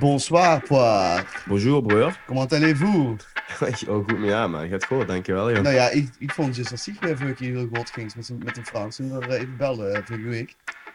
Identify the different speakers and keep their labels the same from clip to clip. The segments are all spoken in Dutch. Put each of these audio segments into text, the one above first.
Speaker 1: Bonsoir, Poir.
Speaker 2: Bonjour, broer.
Speaker 1: Comment allez-vous?
Speaker 2: Oh, goed, maar ja, man. Gaat goed, dankjewel, joh.
Speaker 1: Nou ja, ik, ik vond je statistiek eh, vorige keer heel goed ging met, een- met een Frans. Toen we eh, even bellen eh, vorige week.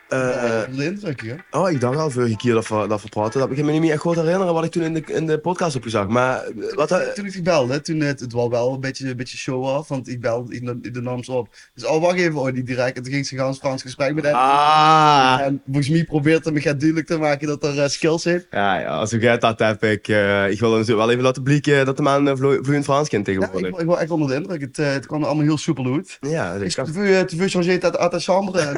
Speaker 2: Eh,
Speaker 1: Onder de indruk, joh.
Speaker 2: oh, ik dacht al vorige keer dat we, dat we praten. Dat ik me niet meer echt goed herinneren wat ik toen in de, in de podcast heb gezegd. Maar eh, wat... eh,
Speaker 1: Toen ik die belde, toen het, het was wel een beetje, een beetje show off, want ik belde, ik, nam- ik nam ze op. Dus al wacht even, hoor, die direct. En toen ging ze gans Frans gesprek met hem.
Speaker 2: Ah!
Speaker 1: En volgens mij probeert hij me gaat duidelijk te maken dat er eh, skills heeft.
Speaker 2: Ja, ja, zo gaat dat, heb ik. eh, ik wil hem zo wel even laten blikken dat de man eh, vlo- vloeiend Frans kent
Speaker 1: Ja, ik,
Speaker 2: tegenwoordig.
Speaker 1: ik was echt onder de indruk. Het, eh, het kwam allemaal heel soepel uit.
Speaker 2: Ja, dus
Speaker 1: Ik
Speaker 2: ik
Speaker 1: te veel, eh, te veel changeert uit uit de chambre. Eh,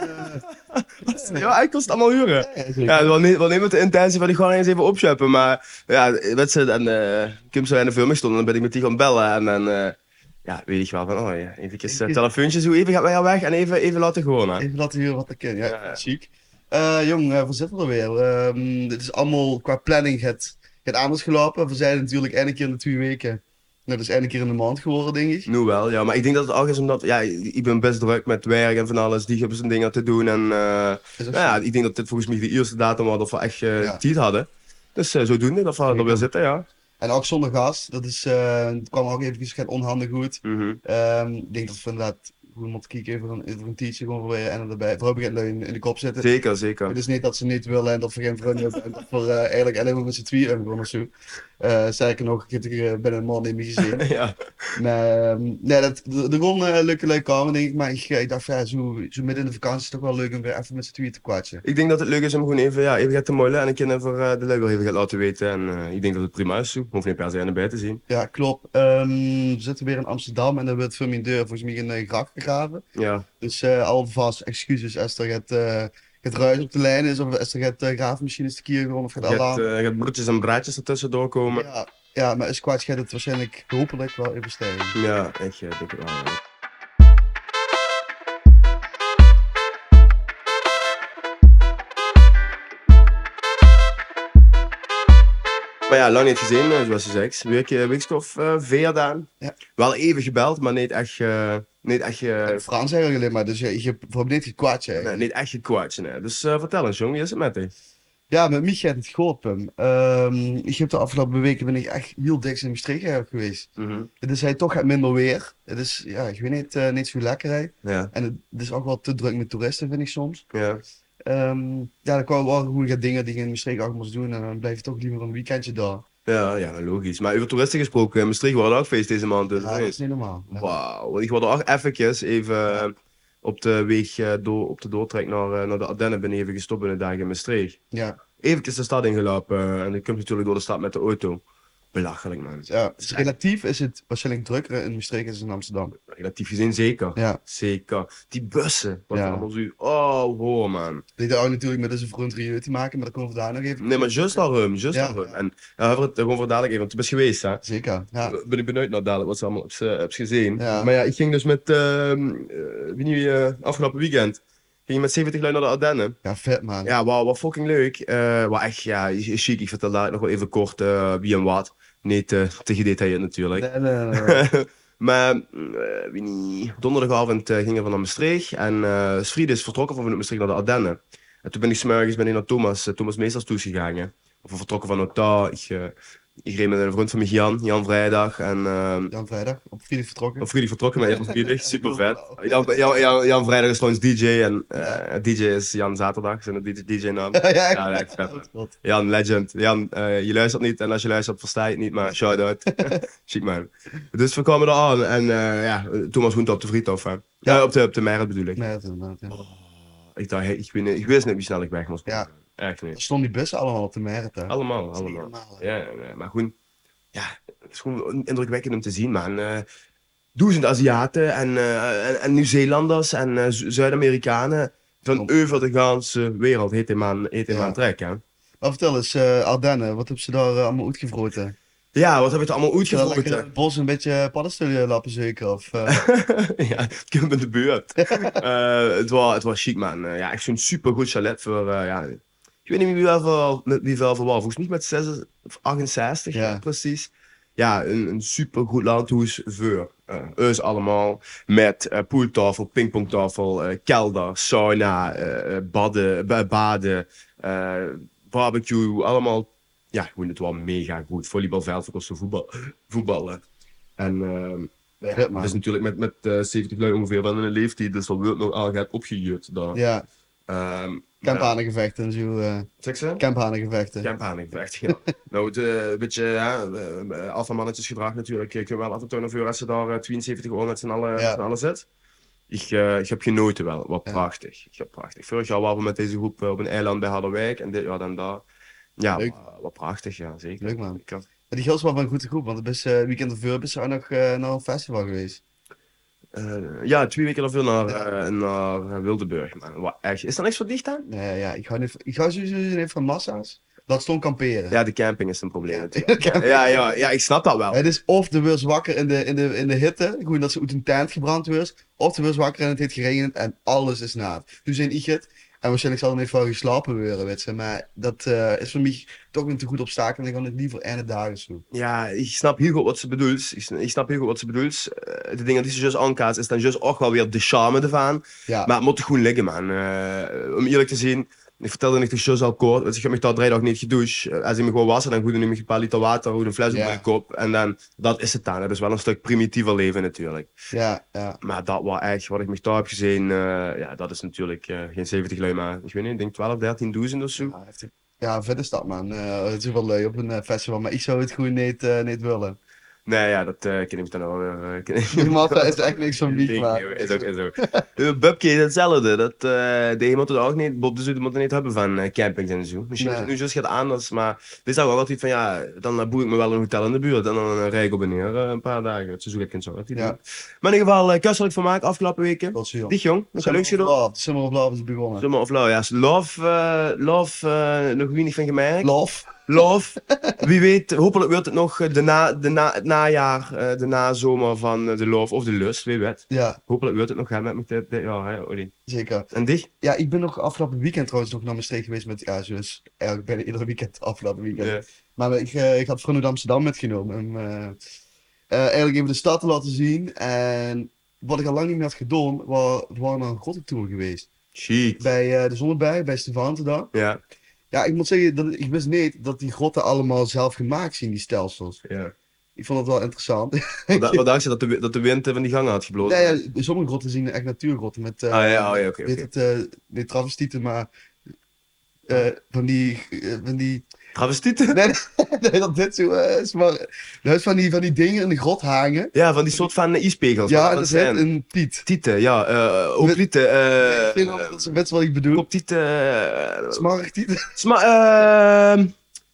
Speaker 2: Ja, ik kost allemaal huren.
Speaker 1: ja,
Speaker 2: Ja,
Speaker 1: zeker.
Speaker 2: wel neem- wel neem het de intentie van die gewoon eens even opscheppen. Maar ja, wedstrijd en eh Kim zou in de film stonden, dan ben ik met die gaan bellen. En dan eh, ja, weet ik wel van, oh ja, even eh, telefoontjes, hoe even gaat wij al weg en even, even laten gewoon aan.
Speaker 1: Even laten horen wat ik ken. Ja,
Speaker 2: Ja, ja.
Speaker 1: chic. Eh, jong, eh, waar zitten we er weer? Ehm, dit is allemaal qua planning het, het anders gelopen. We zijn natuurlijk één keer in de twee weken. Nou, dat is één keer in de maand geworden, denk ik.
Speaker 2: Nu wel, ja. Maar ik denk dat het ook is omdat, ja, ik ben best druk met werk en van alles. Die hebben zijn dingen te doen. En eh,
Speaker 1: Is ook
Speaker 2: nou ja,
Speaker 1: zo.
Speaker 2: ik denk dat dit volgens mij de eerste datum was dat we echt eh
Speaker 1: Ja.
Speaker 2: tijd hadden. Dus zo zodoende, dat we er weer zitten, ja.
Speaker 1: En ook zonder gas. Dat is, eh, het kwam ook even geen onhandig goed.
Speaker 2: Mhm.
Speaker 1: Ehm, ik denk dat we inderdaad gewoon moeten kijken voor een, voor een tientje gewoon proberen en erbij. Vooral begint eh, in, in de kop zitten.
Speaker 2: Zeker, zeker.
Speaker 1: Het is niet dat ze niet willen en dat we geen vrienden hebben en dat we eh, eigenlijk alleen maar met z'n tweeën hebben gewonnen of zo. Eh, Sterker nog, ik heb er, eh, ben een man in mijn gezin.
Speaker 2: ja.
Speaker 1: Maar, ehm, nee, dat, er er kon eh, leuke leuk komen, denk ik. Maar ik, eh, ik dacht, ja, zo, zo midden in de vakantie is het toch wel leuk om weer even met z'n tweeën te kwatsen.
Speaker 2: Ik denk dat het leuk is om gewoon even, ja, even gaat te mollen en ik kan even eh, de lui wel even gaat laten weten. En eh, ik denk dat het prima is. Ik hoef niet per se aan de bij te zien.
Speaker 1: Ja, klopt. Ehm, we zitten weer in Amsterdam en er wordt voor mijn deur volgens mij een eh, gracht gegraven.
Speaker 2: Ja,
Speaker 1: Dus eh, alvast excuses als er het, eh, het ruis op de lijn is of als er het eh, graafmachine is te keer gewoon of het
Speaker 2: je hebt,
Speaker 1: alarm.
Speaker 2: eh, je hebt broertjes en braadjes ertussen doorkomen. Ja,
Speaker 1: Ja, ja, maar is kwaad gaat het waarschijnlijk hopelijk wel even stijgen.
Speaker 2: ik eh, denk het wel. ja. Maar ja, lang niet gezien, eh, zoals je zegt. Week, eh, weekst of eh, vier dan.
Speaker 1: Ja.
Speaker 2: Wel even gebeld, maar niet echt, eh, niet echt, eh,
Speaker 1: En Frans eigenlijk alleen maar, dus je, je hebt niet gekwaad. hè.
Speaker 2: nee, niet echt gekwaadje. nee. Dus eh, vertel eens, jong, wie is het met je?
Speaker 1: Ja, met mij gaat het goed, Pim. Ehm, ik heb de afgelopen weken ben ik echt heel dik in Maastricht eigenlijk geweest. Het is hij toch gaat minder weer. Het is, ja, ik weet niet, eh, niet zo lekker. hè.
Speaker 2: Ja,
Speaker 1: En het, het is ook wel te druk met toeristen, vind ik soms.
Speaker 2: ja.
Speaker 1: Ehm, ja, dan kwamen wel gewoon wat dingen die je in Maastricht ook moest doen. En dan blijf je toch liever een weekendje daar.
Speaker 2: Ja, ja, logisch. Maar over toeristen gesproken, in Maastricht waren ook feest deze maand. Dus.
Speaker 1: Ja, dat is niet normaal. Ja.
Speaker 2: Wauw. Want Ik wilde ook eventjes even eh, op de weg eh, door, op de doortrek naar, eh, naar de Ardennen ben even gestopt in de dagen in Maastricht.
Speaker 1: Ja,
Speaker 2: Eventjes de stad ingelopen eh, en dan kom je natuurlijk door de stad met de auto. Belachelijk man.
Speaker 1: ja. Dus relatief is het waarschijnlijk drukker in Maastricht dan in Amsterdam.
Speaker 2: Relatief gezien zeker.
Speaker 1: Ja,
Speaker 2: Zeker. Die bussen. Wat
Speaker 1: Ja.
Speaker 2: allemaal zo... Oh, wow man.
Speaker 1: dit had ook natuurlijk met zijn vriend Rieu te maken, maar daar komen we daar nog even
Speaker 2: Nee, maar juist daarom. Juist
Speaker 1: Ja.
Speaker 2: daarom. En ja, hebben we het gewoon voor dadelijk even, want je bent geweest hè.
Speaker 1: Zeker, ja.
Speaker 2: Ben Ah, ik benieuwd naar dadelijk wat ze allemaal hebben ze- hebben ze gezien.
Speaker 1: Ja.
Speaker 2: Maar ja, ik ging dus met, ehm, eh, wie nu, eh, afgelopen weekend, ging ik met 70 lui naar de Ardennen.
Speaker 1: Ja, vet man.
Speaker 2: Ja, wauw, wat fucking leuk. Eh wat echt, ja, is chic. Ik vertel daar nog wel even kort eh, wie en wat. Niet eh, te gedetailleerd natuurlijk.
Speaker 1: Nee, nee, nee, nee.
Speaker 2: Maar, eh, wie niet, donderdagavond eh, gingen we naar Maastricht. En eh Sfried is vertrokken vanuit Maastricht naar de Ardennen. En toen ben ik s'morgens ben ik naar Thomas, eh, Thomas Meesters toe gegaan. hè. Of we vertrokken van Ota. Ik, eh, ik reed met een vriend van mij, Jan, Jan Vrijdag. En ehm,
Speaker 1: Dan vrijdag, op vrijdag vertrokken.
Speaker 2: of jullie vertrokken met Jan Vrijdag, super vet. Jan, Jan, Jan, Jan Vrijdag is trouwens DJ en eh, DJ is Jan Zaterdag, zijn de DJ-naam.
Speaker 1: ja,
Speaker 2: Ja, dat is vet, man.
Speaker 1: klopt.
Speaker 2: Jan, legend. Jan, eh, je luistert niet en als je luistert versta je het niet, maar shout-out. Chic man. Dus we kwamen er aan en eh, ja, toen was Hoente op de Friedhof. Hè. Ja, op de, op de Merit bedoel ik.
Speaker 1: Nee, dat is inderdaad, ja.
Speaker 2: Ik dacht, hey, ik, weet niet- ik wist niet wie snel ik weg moest.
Speaker 1: Ja.
Speaker 2: Echt
Speaker 1: Daar
Speaker 2: niet.
Speaker 1: stonden die bussen allemaal op de merit, hè.
Speaker 2: Allemaal,
Speaker 1: Dat is niet
Speaker 2: allemaal.
Speaker 1: normaal, hè.
Speaker 2: Ja, ja, ja, maar gewoon, ja, het is gewoon indrukwekkend om te zien, man. Eh duizend Aziaten en, eh, en, en Nieuw-Zeelanders en eh, Zu- Zuid-Amerikanen van
Speaker 1: Klopt.
Speaker 2: over de ganse wereld heet die man, heet die
Speaker 1: Ja.
Speaker 2: man trek, hè.
Speaker 1: Maar vertel eens, eh Ardennen, wat hebben ze daar eh, allemaal uitgevroten?
Speaker 2: Ja, wat heb je het allemaal
Speaker 1: Ze daar lekker in
Speaker 2: uitgevoerd?
Speaker 1: het bos een beetje eh, paddenstoelen lappen zeker? Of, eh,
Speaker 2: ja, het komt in de buurt. Eh, het, was, het was chic, man. Eh, ja, echt zo'n supergoed chalet voor, eh, ja... Ik weet niet meer wie wel voor, met wie wel voor was. Volgens mij met 6, of 68,
Speaker 1: Ja.
Speaker 2: precies. Ja, een, een supergoed landhuis voor eh ons allemaal. Met eh, poeltafel, pingpongtafel, eh, kelder, sauna, eh, eh, badden, ba- baden, eh, barbecue. Allemaal ja, gewoon het wel mega goed. Volleybalveld, ook als ze voetbal, voetballen. En ehm, ja,
Speaker 1: Vet, man.
Speaker 2: dat is natuurlijk met, met eh 70 lui ongeveer wel in een leeftijd, dus dat wordt nog aangehaald opgejut. daar.
Speaker 1: Ja,
Speaker 2: Ehm, maar-
Speaker 1: kamphanengevechten en zo. eh
Speaker 2: Zeg ze?
Speaker 1: kamphanengevechten.
Speaker 2: Camp Haning, echt, ja. nou, het, eh, een beetje ja, eh, alfamannetjesgedrag natuurlijk. Ik wil wel altijd tonen voor als ze daar eh, 72 uur met z'n allen,
Speaker 1: Ja.
Speaker 2: met z'n allen zit. Ik, eh, ik heb genoten wel, wat
Speaker 1: Ja.
Speaker 2: prachtig. Ik heb prachtig. Vorig jaar waren we met deze groep eh, op een eiland bij Harderwijk en dit jaar dan daar. Ja,
Speaker 1: Leuk.
Speaker 2: wa- wat prachtig, ja, zeker.
Speaker 1: Leuk, man.
Speaker 2: Ik had-
Speaker 1: Maar die gast was wel een goede groep, want het is, eh, weekend of Verb is ook nog eh, naar een festival geweest.
Speaker 2: eh, ja, twee weken of veel naar, eh, naar Wildeburg, man. Wat echt. Is er niks voor dicht aan?
Speaker 1: Nee, ja, ik hou, niet, van- ik hou sowieso niet van massa's. Dat stond kamperen.
Speaker 2: Ja, de camping is een probleem natuurlijk.
Speaker 1: Kamp-
Speaker 2: Ja, ja, ja, ik snap dat wel.
Speaker 1: Het is of de was wakker in de, in de, in de hitte, gewoon dat ze uit een tent gebrand was, of de was wakker en het heeft geregend en alles is naad. Nu zijn ik het, en waarschijnlijk zal er niet veel geslapen worden, weet ze, maar dat eh, is voor mij toch niet te goed obstakel en dan kan ik liever einde dagen zo.
Speaker 2: Ja, ik snap heel goed wat ze bedoelt. Ik, sn- ik snap heel goed wat ze bedoelt. Eh, de dingen die ze juist aankaart, is dan juist ook wel weer de charme ervan.
Speaker 1: Ja,
Speaker 2: Maar het moet gewoon liggen, man. Eh, om eerlijk te zien, ik vertelde het juist al kort. want ik heb me daar drie dagen niet gedoucht. Eh, als ik me gewoon was, dan goede neem ik een paar liter water, goed een fles op
Speaker 1: Ja.
Speaker 2: mijn kop. En dan, dat is het dan. Dat is wel een stuk primitiever leven natuurlijk.
Speaker 1: ja, ja.
Speaker 2: Maar dat was echt, wat ik me daar heb gezien, eh, ja, dat is natuurlijk eh, geen 70 lui, maar ik weet niet, ik denk 12, 13.000 of zo.
Speaker 1: Ja, verder stad man. Eh, het is wel leuk op een eh, festival, maar ik zou het gewoon niet, eh, niet willen.
Speaker 2: Nee, ja, dat eh ken ik dan wel weer. eh, ken ik-
Speaker 1: Die massa is echt niks van mij,
Speaker 2: Denk,
Speaker 1: maar...
Speaker 2: joh, Is ook, is ook. Eh, Bubke is hetzelfde. Dat, eh die moet het ook niet, Bob de Zoete moet het niet hebben van eh, campings en zo. Misschien is het
Speaker 1: Nee.
Speaker 2: nu juist gaat anders, maar dit is ook altijd van ja, dan eh, boek ik me wel een hotel in de buurt en dan eh, rij ik op en neer eh, een paar dagen. Het seizoen heb ik zo. dat die
Speaker 1: Ja.
Speaker 2: doen. Maar in ieder geval, eh kusselijk vermaak afgelopen weken.
Speaker 1: Tot zo, joh.
Speaker 2: Dich jong, nog een leuk
Speaker 1: Summer of
Speaker 2: gedaan.
Speaker 1: Love, Summer of Love is begonnen.
Speaker 2: Summer of Love, ja. is Love, eh, love eh, nog weinig van gemerkt.
Speaker 1: Love?
Speaker 2: Love. Wie weet, hopelijk wordt het nog eh, de na, de na, het najaar, eh, de nazomer van eh, de Love of de Lust, wie weet.
Speaker 1: Ja,
Speaker 2: Hopelijk wilt het nog gaan met me dit, dit jaar, hè, Olly.
Speaker 1: zeker.
Speaker 2: En dich?
Speaker 1: Ja, ik ben nog afgelopen weekend trouwens nog naar mijn steek geweest met ja, dus eigenlijk bijna iedere weekend afgelopen weekend. Maar ik, eh, ik had Vroeg uit Amsterdam metgenomen om eh, eh, eigenlijk even de stad te laten zien. En wat ik al lang niet meer had gedaan, was, waren naar een grottentour geweest.
Speaker 2: Chic.
Speaker 1: Bij eh, de Zonneberg, bij Stefan daar.
Speaker 2: Ja,
Speaker 1: Ja, ik moet zeggen, dat, ik wist niet dat die grotten allemaal zelf gemaakt zijn, die stelsels.
Speaker 2: ja.
Speaker 1: Ik vond dat wel interessant.
Speaker 2: Wat wat dacht je dat de, wi- dat de wind eh, van die gangen had geblozen?
Speaker 1: Ja, ja, sommige grotten zien echt natuurgrotten met eh,
Speaker 2: Ah ja, oh, ja oké.
Speaker 1: weet
Speaker 2: oké.
Speaker 1: het, eh, niet travestieten, maar eh, van die, eh, van die
Speaker 2: Travestieten?
Speaker 1: Nee, nee, dat dit zo eh, is. Maar dat is van die, van die dingen in de grot hangen.
Speaker 2: Ja, van die soort van eh, ijspegels.
Speaker 1: ja,
Speaker 2: Wat
Speaker 1: dat is
Speaker 2: zijn?
Speaker 1: het, een tiet.
Speaker 2: Tieten, ja. eh hoplieten.
Speaker 1: ik
Speaker 2: eh
Speaker 1: vind dat- dat is best wel wat ik bedoel.
Speaker 2: Koptieten. eh,
Speaker 1: Smaragdtieten,
Speaker 2: Sma... ehm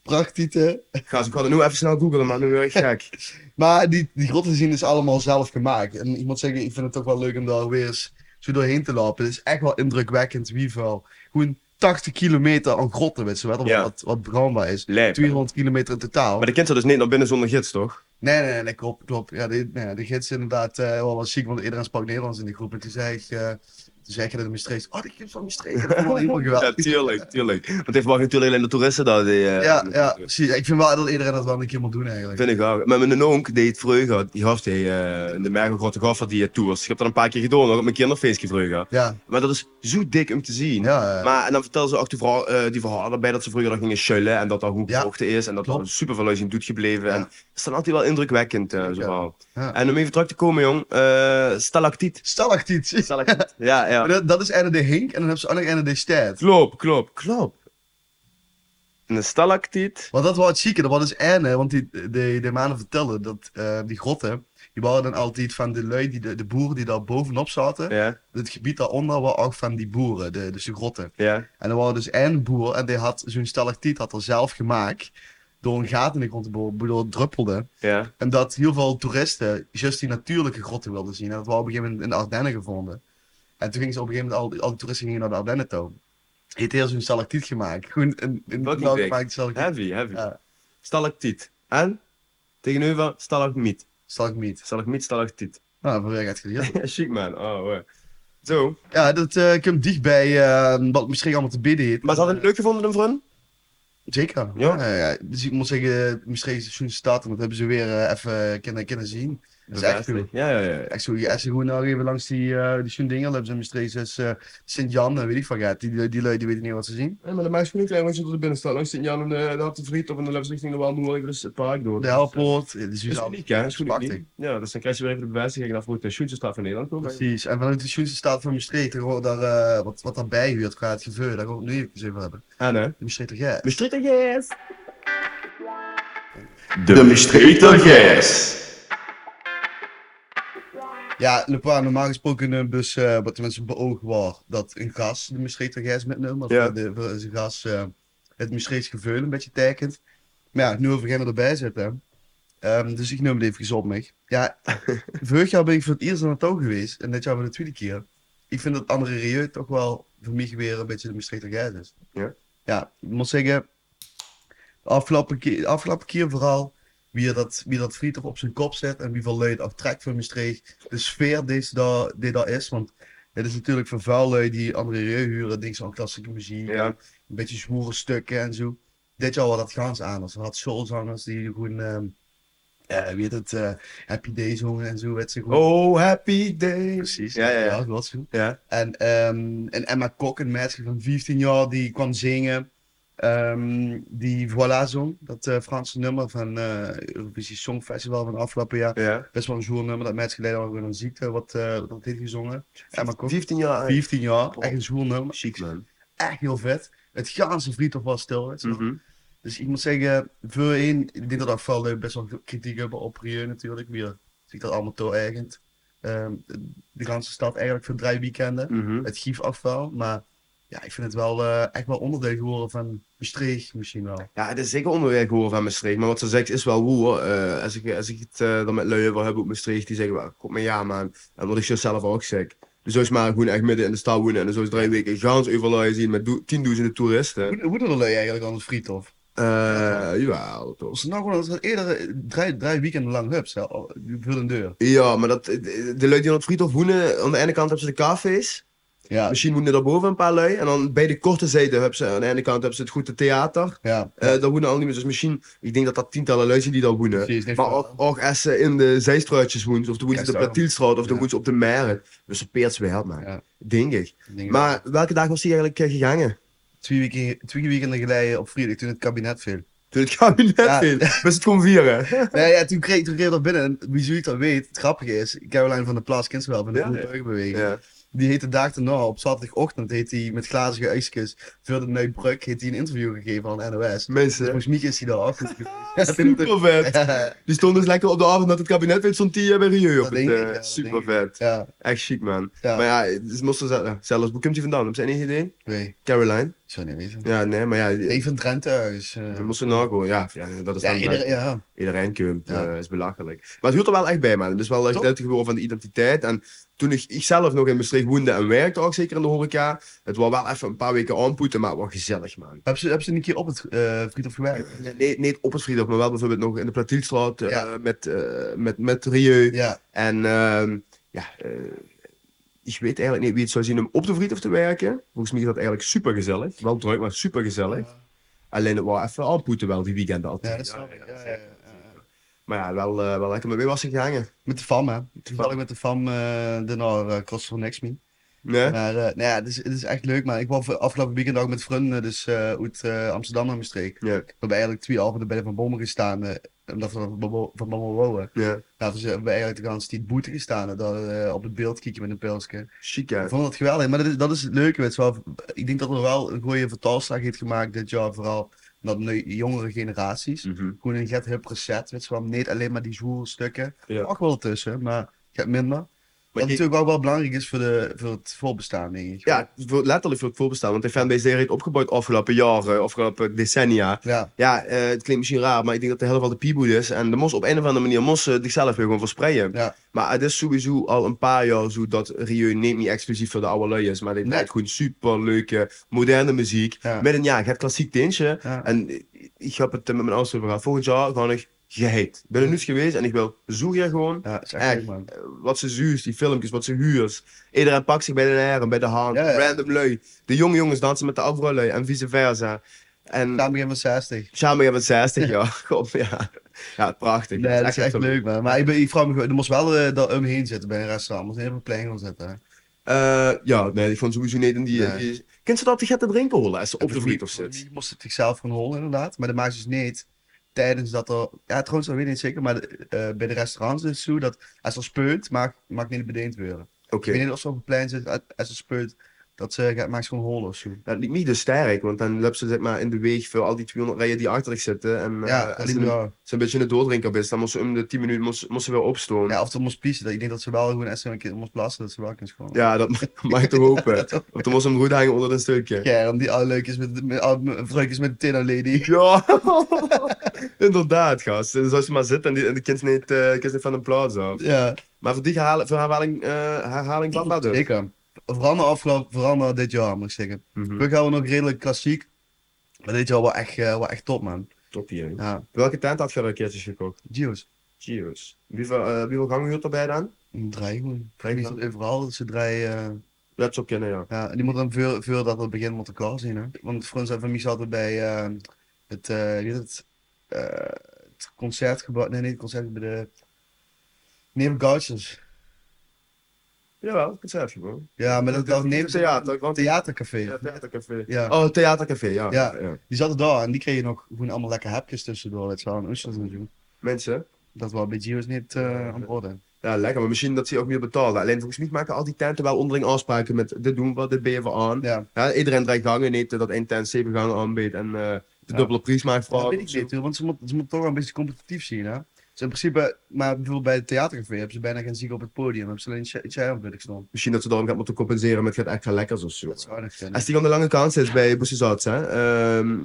Speaker 1: prachttieten.
Speaker 2: Gaas, ik ga het nu even snel googlen, maar nu word ik gek.
Speaker 1: Maar die, die grotten zien is allemaal zelf gemaakt. En ik moet zeggen, ik vind het toch wel leuk om daar weer eens zo doorheen te lopen. Het is echt wel indrukwekkend wie wel. Gewoon 80 kilometer aan grotten, weet je wel. Wat,
Speaker 2: Ja.
Speaker 1: wat, wat bruinbaar is.
Speaker 2: Lijp.
Speaker 1: 200 kilometer in totaal.
Speaker 2: Maar de kind zou dus niet naar binnen zonder gids, toch?
Speaker 1: Nee, nee, nee, klopt, klopt. Ja, de, nee, de gids is inderdaad eh, wel wat ziek, want iedereen sprak Nederlands in de groep. En toen zei ik, eh, toen zei ik dat de Maastricht, oh, de gids van Maastricht, dat vond ik wel helemaal
Speaker 2: Ja,
Speaker 1: geweldig.
Speaker 2: tuurlijk, tuurlijk. Want het heeft maar natuurlijk alleen de toeristen daar. Die, eh,
Speaker 1: Ja, ja, precies. Ik vind wel dat iedereen dat wel een keer moet doen eigenlijk.
Speaker 2: Vind ik ook. Maar mijn onk deed vroeger, die gaf die, eh, in de Mergelgrotte gaf dat die eh, tours. Ik heb dat een paar keer gedaan, nog op mijn kinderfeestje vroeger.
Speaker 1: Ja,
Speaker 2: Maar dat is zo dik om te zien.
Speaker 1: ja, eh,
Speaker 2: Maar en dan vertelden ze ook die verhaal, eh, die verhalen erbij dat ze vroeger dan gingen chullen en dat dat goed
Speaker 1: Ja.
Speaker 2: gevochten is en dat
Speaker 1: Klopt.
Speaker 2: er super veel in doet gebleven.
Speaker 1: Ja.
Speaker 2: En dat is dan altijd wel indrukwekkend, eh, zo
Speaker 1: Ja.
Speaker 2: verhaal.
Speaker 1: Ja.
Speaker 2: En om even terug te komen, jong, eh stalactiet.
Speaker 1: stalactiet.
Speaker 2: Stalactiet. ja, ja.
Speaker 1: Maar Dat, dat is NRD Hink en dan hebben ze ook nog NRD Stad.
Speaker 2: Klopt, klopt, klopt. En Een stalactiet.
Speaker 1: Want dat was het zieke, dat was dus ene, want die, de, de mannen vertelden dat eh, die grotten, die waren dan altijd van de lui, die, de, de boeren die daar bovenop zaten.
Speaker 2: Ja,
Speaker 1: Het gebied daaronder was ook van die boeren, de, dus de grotten.
Speaker 2: ja.
Speaker 1: En er was dus één boer en die had zo'n stalactiet had er zelf gemaakt. Door een gat in de grond te boren, waardoor het druppelde.
Speaker 2: Ja,
Speaker 1: En dat heel veel toeristen juist die natuurlijke grotten wilden zien. En dat was op een gegeven moment in de Ardennen gevonden. En toen gingen ze op een gegeven moment, al, al die toeristen gingen naar de Ardennen toe. Heeft heel zo'n stalactiet gemaakt. Gewoon een, een
Speaker 2: Wat niet
Speaker 1: blauw
Speaker 2: dik.
Speaker 1: gemaakt stalactiet.
Speaker 2: heavy, heavy.
Speaker 1: Ja.
Speaker 2: Stalactiet. En tegenover stalagmiet.
Speaker 1: Stalagmiet.
Speaker 2: Stalagmiet, stalactiet.
Speaker 1: Nou, vanwege het geleerd.
Speaker 2: Ja, chic man. Oh, wow. Zo.
Speaker 1: Ja, dat eh komt dichtbij eh, wat misschien allemaal te bidden heeft.
Speaker 2: Maar ze hadden het leuk gevonden, een vriend?
Speaker 1: Zeker.
Speaker 2: Ja.
Speaker 1: Ja. ja. Dus ik moet zeggen, misschien is het zo'n stad en dat hebben ze weer eh, even kunnen, kunnen zien. is echt
Speaker 2: bevestigd. Ja, ja, ja.
Speaker 1: Echt zo, als je gewoon nou even langs die, eh die Schoendingerlubs in Maastricht, dus eh, Sint-Jan, eh, weet ik van gaat, die, die, die lui die weten niet wat ze zien.
Speaker 2: Ja, maar de meisjes niet klein, want je door de binnenstad. Langs Sint-Jan en de, de Hart eh, de Vriet of in de Lepsrichting, waar nu ik dus het park door.
Speaker 1: De
Speaker 2: Dus, eh,
Speaker 1: Helpoort, eh, de
Speaker 2: Dat is
Speaker 1: Suzanne.
Speaker 2: uniek, hè? Dat is goed
Speaker 1: Prachtig.
Speaker 2: uniek. Ja, dus dan krijg je weer even de bevestiging dat voor de shooterstraf in Nederland komt.
Speaker 1: Precies, en vanuit de Schoense staat van Maastricht, daar, hoort daar, eh, wat, wat daarbij huurt qua het geveur, daar gaan we het nu even eens over hebben.
Speaker 2: En hè?
Speaker 1: De Maastrichter Gijs.
Speaker 2: Maastrichter yes!
Speaker 3: De Mistreter Gijs.
Speaker 1: Ja, Le Pen, normaal gesproken een bus eh, wat de mensen beoogd was, dat een gas de Maastrichter Gijs metneemt, of
Speaker 2: Ja.
Speaker 1: de, de, zijn gas eh, het Maastrichts geveur een beetje tekent. Maar ja, nu over Genner erbij zitten. Ehm, dus ik neem het even op me. Ja, vorig jaar ben ik voor het eerst naar naartoe geweest en dit jaar voor de tweede keer. Ik vind dat andere Rieu toch wel voor mij weer een beetje de Maastrichter Gijs is.
Speaker 2: Ja?
Speaker 1: Ja, ik moet zeggen, de afgelopen keer, de afgelopen keer vooral wie dat, wie dat friet op zijn kop zet en wie veel leid aftrekt van Maastricht. De sfeer die daar, die daar is, want het is natuurlijk voor vuil lui die andere Rieu huren, dingen zoals klassieke muziek,
Speaker 2: Ja,
Speaker 1: een beetje zwoere stukken en zo. Dit jaar was dat gans anders. We had soulzangers die gewoon, ehm eh, wie heet het, eh, Happy Day zongen en zo. Weet ze gewoon.
Speaker 2: Oh, happy day.
Speaker 1: precies.
Speaker 2: Ja, ja, ja.
Speaker 1: dat was zo.
Speaker 2: Ja.
Speaker 1: En, ehm, en Emma Kok, een meisje van 15 jaar, die kwam zingen. ehm, die Voilà zong, dat eh, Franse nummer van eh Eurovisie Songfestival van afgelopen jaar.
Speaker 2: Ja.
Speaker 1: Best wel een zwoer nummer, dat meisje geleden al een ziekte, wat, eh, wat dat heeft gezongen. Emma Kok,
Speaker 2: 15 jaar.
Speaker 1: 15 jaar, echt een zwoer nummer.
Speaker 2: Chic, man.
Speaker 1: Echt heel vet. Het ganse vriendhof was stil. weet je
Speaker 2: Mhm.
Speaker 1: wel. Dus ik moet zeggen, voor één, ik denk dat dat vooral eh, best wel kritiek hebben op Rieu natuurlijk. Weer zie ik dat allemaal toe eigend. Ehm, de ganse stad eigenlijk voor drie weekenden.
Speaker 2: Mhm.
Speaker 1: Het giefafval. Maar ja, ik vind het wel eh, echt wel onderdeel geworden van Maastricht misschien wel.
Speaker 2: Ja, het is zeker onderwerp horen van Maastricht. Maar wat ze zegt is wel hoe hoor. Eh, als, ik, als ik het eh, dan met luien wil hebben op Maastricht, die zeggen wel, kom maar ja man. En wat ik zo zelf ook zeg. Dus zo is maar gewoon echt midden in de stad wonen. En zo is drie weken gans overluien zien met do- tienduizenden toeristen.
Speaker 1: Hoe, hoe doen dat eigenlijk aan het friethof?
Speaker 2: Eh, jawel, toch.
Speaker 1: Was het nou gewoon dat het eerder eh, drie, drie weekenden lang hubs, hè, al- voor een deur.
Speaker 2: Ja, maar dat, de de lui die aan het friethof wonen, aan de ene kant hebben ze de cafés.
Speaker 1: Ja,
Speaker 2: Misschien wonen daarboven een paar lui. En dan bij de korte zijde hebben ze, aan de ene kant hebben ze het goede theater.
Speaker 1: ja.
Speaker 2: Eh daar wonen al niet meer. Dus misschien, ik denk dat dat tientallen lui zijn die daar wonen.
Speaker 1: Precies, dit-
Speaker 2: Maar ook, ook als ze in de zijstruitjes woont, of de woont
Speaker 1: Ja,
Speaker 2: ze op de
Speaker 1: zo.
Speaker 2: Platielstraat, of de
Speaker 1: Ja.
Speaker 2: woont ze op de Meren. Dus ze peert ze wel, man.
Speaker 1: Ja.
Speaker 2: Denk ik.
Speaker 1: ik denk-
Speaker 2: Maar welke dag was die eigenlijk eh, gegangen?
Speaker 1: Twee, weken, twee weekenden geleden op vrijdag toen het kabinet viel.
Speaker 2: Toen het kabinet
Speaker 1: Ja.
Speaker 2: in. Was het gewoon vieren?
Speaker 1: Nee, ja, toen kreeg, toen kreeg ik dat binnen. En wie zoiets dat weet, het grappige is, Caroline van de Plaats kent ze wel van de
Speaker 2: Ja,
Speaker 1: Groene
Speaker 2: ja.
Speaker 1: Burgerbeweging.
Speaker 2: Ja.
Speaker 1: Die heet de dag daarna, op zaterdagochtend, heet hij met glazige ijskes, voor de Nuikbruk, heeft hij een interview gegeven aan de NOS. Dus
Speaker 2: Mensen.
Speaker 1: volgens mij is hij daar achter geweest.
Speaker 2: Super vet.
Speaker 1: Ja,
Speaker 2: Die stond dus lekker op de avond dat het kabinet werd, stond die eh, bij Rio op
Speaker 1: Dat
Speaker 2: het.
Speaker 1: denk ik,
Speaker 2: eh,
Speaker 1: ja, dat
Speaker 2: super
Speaker 1: denk
Speaker 2: vet.
Speaker 1: ja,
Speaker 2: Echt chic, man.
Speaker 1: Ja.
Speaker 2: Maar ja, het is moest er zelf- zelfs. Hoe komt hij vandaan? Heb je enig idee?
Speaker 1: nee,
Speaker 2: Caroline?
Speaker 1: ik zou niet weten.
Speaker 2: Ja, nee, maar ja. die-
Speaker 1: Even van Drenthe ergens. eh.
Speaker 2: We moesten nagaan. Ja, ja, dat is
Speaker 1: ja,
Speaker 2: dan-
Speaker 1: iedereen, ja.
Speaker 2: Iedereen komt,
Speaker 1: Ja.
Speaker 2: eh, is belachelijk. Maar het hield er wel echt bij, man. Het is wel echt
Speaker 1: Toch?
Speaker 2: duidelijk geworden van de identiteit. En toen ik, ik zelf nog in Maastricht woonde en werkte, ook zeker in de horeca, het was wel even een paar weken aanpoeten, maar het was gezellig, man.
Speaker 1: Hebben ze, hebben ze een keer op het eh friethof gewerkt?
Speaker 2: Nee, niet op het Friedhof, maar wel bijvoorbeeld nog in de Platielstraat eh,
Speaker 1: Ja.
Speaker 2: met, eh, met, met Rieu.
Speaker 1: Ja,
Speaker 2: En ehm, ja, eh, ik weet eigenlijk niet wie het zou zien om op de Friedhof te werken. Volgens mij is dat eigenlijk super gezellig. Wel druk, maar super gezellig. Alleen het was even aanpoeten wel, die weekenden altijd.
Speaker 1: ja, dat snap ik. Ja, ja, ja, ja.
Speaker 2: Maar ja, wel, eh, wel lekker. Maar wie was er gehangen?
Speaker 1: Met de FAM, hè. Toevallig met de FAM, eh daarna eh, Cross for Next Me.
Speaker 2: Nee?
Speaker 1: Maar eh, nou ja, het is, het is echt leuk, maar ik was afgelopen weekend ook met vrienden dus, eh, uit eh, Amsterdam naar Maastricht. We
Speaker 2: Ja.
Speaker 1: hebben eigenlijk twee avonden bij de Van Bommel gestaan, eh, omdat we van Bommel- van Bommel wonen.
Speaker 2: Ja.
Speaker 1: Nou, dus eh, hebben we eigenlijk de hele tijd boete gestaan en dan eh, op het beeld kieken met een pilsje.
Speaker 2: Chic, hè?
Speaker 1: Ik vond dat geweldig, maar dat is, dat is het leuke. Weet je wel. Ik denk dat er wel een goede vertaalslag heeft gemaakt dit jaar, vooral naar de ne- jongere generaties.
Speaker 2: Mm.
Speaker 1: Gewoon een get hip reset, weet je wel. Niet alleen maar die zwoere stukken.
Speaker 2: Ja.
Speaker 1: Ook wel tussen, maar get minder. Wat
Speaker 2: je-
Speaker 1: natuurlijk ook wel belangrijk is voor, de, voor het voorbestaan, denk ik.
Speaker 2: Ja, voor- letterlijk voor het voorbestaan. Want de fanbase die heeft opgebouwd afgelopen jaren, afgelopen decennia.
Speaker 1: Ja,
Speaker 2: Ja, eh, het klinkt misschien raar, maar ik denk dat de helft al de pieboed is. En de mos op een of andere manier mos eh, zichzelf weer gewoon verspreiden.
Speaker 1: ja.
Speaker 2: Maar het is sowieso al een paar jaar zo dat Rieu neemt niet exclusief voor de oude lui is. Maar die
Speaker 1: Nee.
Speaker 2: draait gewoon superleuke, moderne muziek.
Speaker 1: Ja.
Speaker 2: Met een, ja, het klassiek tintje.
Speaker 1: Ja.
Speaker 2: En ik- ik heb het eh, met mijn ouders over gehad. Volgend jaar ga ik geheid. Ik ben er nu eens geweest en ik wil zo hier gewoon.
Speaker 1: ja, is echt,
Speaker 2: Echt.
Speaker 1: leuk, man.
Speaker 2: eh, wat ze zuurt, die filmpjes, wat ze huurt. Iedereen pakt zich bij de haren, bij de hand.
Speaker 1: Ja, ja.
Speaker 2: Random lui. De jonge jongens dansen met de oudere lui en vice versa. En
Speaker 1: Samen begin van 60.
Speaker 2: samen hebben we het 60 jaar. God, ja. Ja, prachtig.
Speaker 1: Nee, dat is echt
Speaker 2: zo-
Speaker 1: leuk, man. Maar ik, ben, ik vraag me gewoon, er moest wel eh, dat omheen zitten bij een restaurant. Moest even een plein gaan zitten.
Speaker 2: Eh, ja, nee, ik vond sowieso niet in die...
Speaker 1: Nee.
Speaker 2: die- Kent ze dat die gaat te drinken holen als ze op de vliegtuig zit?
Speaker 1: Die moest het zichzelf gaan holen, inderdaad. Maar dat maakt ze dus niet tijdens dat er. Ja, trouwens, dat weet ik niet zeker. Maar eh, bij de restaurants is het zo dat als er speunt, maakt maakt niet bedeend worden.
Speaker 2: Oké.
Speaker 1: Ik weet niet of ze op een plein zit, als- als ze speelt, dat ze gaat, maakt ze gewoon holen of zo.
Speaker 2: Dat liep niet dus sterk, want dan loopt ze zeg maar in de weg voor al die 200 rijen die achter zich zitten. En eh,
Speaker 1: ja, dat
Speaker 2: als
Speaker 1: liep
Speaker 2: ze,
Speaker 1: wel.
Speaker 2: een, ze een beetje een doordrinker is, dan moest ze om de 10 minuten moest, moest ze weer opstomen. Ja,
Speaker 1: Ja, of ze moest pissen. dat- Ik denk dat ze wel gewoon echt een keer moest plassen, dat ze wel kan schoon.
Speaker 2: dat ma- mag ik toch hopen.
Speaker 1: toch?
Speaker 2: Want dan moest ze hem goed hangen onder een stukje.
Speaker 1: Ja, om die oude leuk is met, met, oude m- vrouw is met de Tenno Lady.
Speaker 2: Ja, inderdaad, gast. Dus als je maar zit en, die, en de kind niet, eh, kind niet van een plaats af.
Speaker 1: Ja,
Speaker 2: Maar voor die herhaling, voor herhaling, eh herhaling vatbaar dus.
Speaker 1: zeker. Vooral na afgelopen, vooral na dit jaar moet ik zeggen.
Speaker 2: Mhm.
Speaker 1: We gaan we nog redelijk klassiek. Maar dit jaar wel echt, eh, wel echt top, man.
Speaker 2: Top hier. hè.
Speaker 1: Ja,
Speaker 2: Welke tent had je er een keertje gekocht?
Speaker 1: Gio's.
Speaker 2: Cheers. Hoeveel, eh hoeveel gangen huurt erbij dan?
Speaker 1: Draai gewoon.
Speaker 2: Draai
Speaker 1: Die
Speaker 2: gewoon.
Speaker 1: staat Overal, eh, ze draaien. eh,
Speaker 2: Let's op kennen, ja.
Speaker 1: Ja, die moet dan veel, veel dat het begin met elkaar zien. Hè? Want Frans en familie zaten bij eh, het, eh, hoe heet het, eh, het concertgebouw. Nee, niet het concert, bij de. Neem Gouchers.
Speaker 2: Jawel, dat zei je gewoon.
Speaker 1: Ja, maar dat, dat Neem
Speaker 2: theater, want
Speaker 1: Theatercafé.
Speaker 2: Ja, theatercafé.
Speaker 1: Ja.
Speaker 2: Oh, theatercafé, ja.
Speaker 1: Ja. Die zaten daar en die kregen nog gewoon allemaal lekker hapjes tussendoor. Weet je wel, en oesters en zo.
Speaker 2: Mensen,
Speaker 1: Dat was bij Gio's niet eh, aan de orde.
Speaker 2: ja, lekker, maar misschien dat ze ook meer betalen. Alleen volgens mij maken al die tenten wel onderling afspraken met dit doen we, dit ben je voor aan.
Speaker 1: Ja,
Speaker 2: Ja, iedereen draait gangen, neemt eh, dat één tent zeven gangen aanbiedt en eh, de
Speaker 1: Ja.
Speaker 2: dubbele prijs maakt voor.
Speaker 1: dat weet ik niet, hoor, want ze moeten ze moet toch wel een beetje competitief zien. Hè? Dus in principe, maar bijvoorbeeld bij het theatercafé hebben ze bijna geen ziek op het podium. Hebben ze alleen Ch- Chair op ik staan.
Speaker 2: Misschien dat ze daarom gaat moeten compenseren met gaat extra lekkers of zo.
Speaker 1: Dat zou aardig zijn.
Speaker 2: Als die aan de lange kant zit bij Boesjesouts, hè? Ehm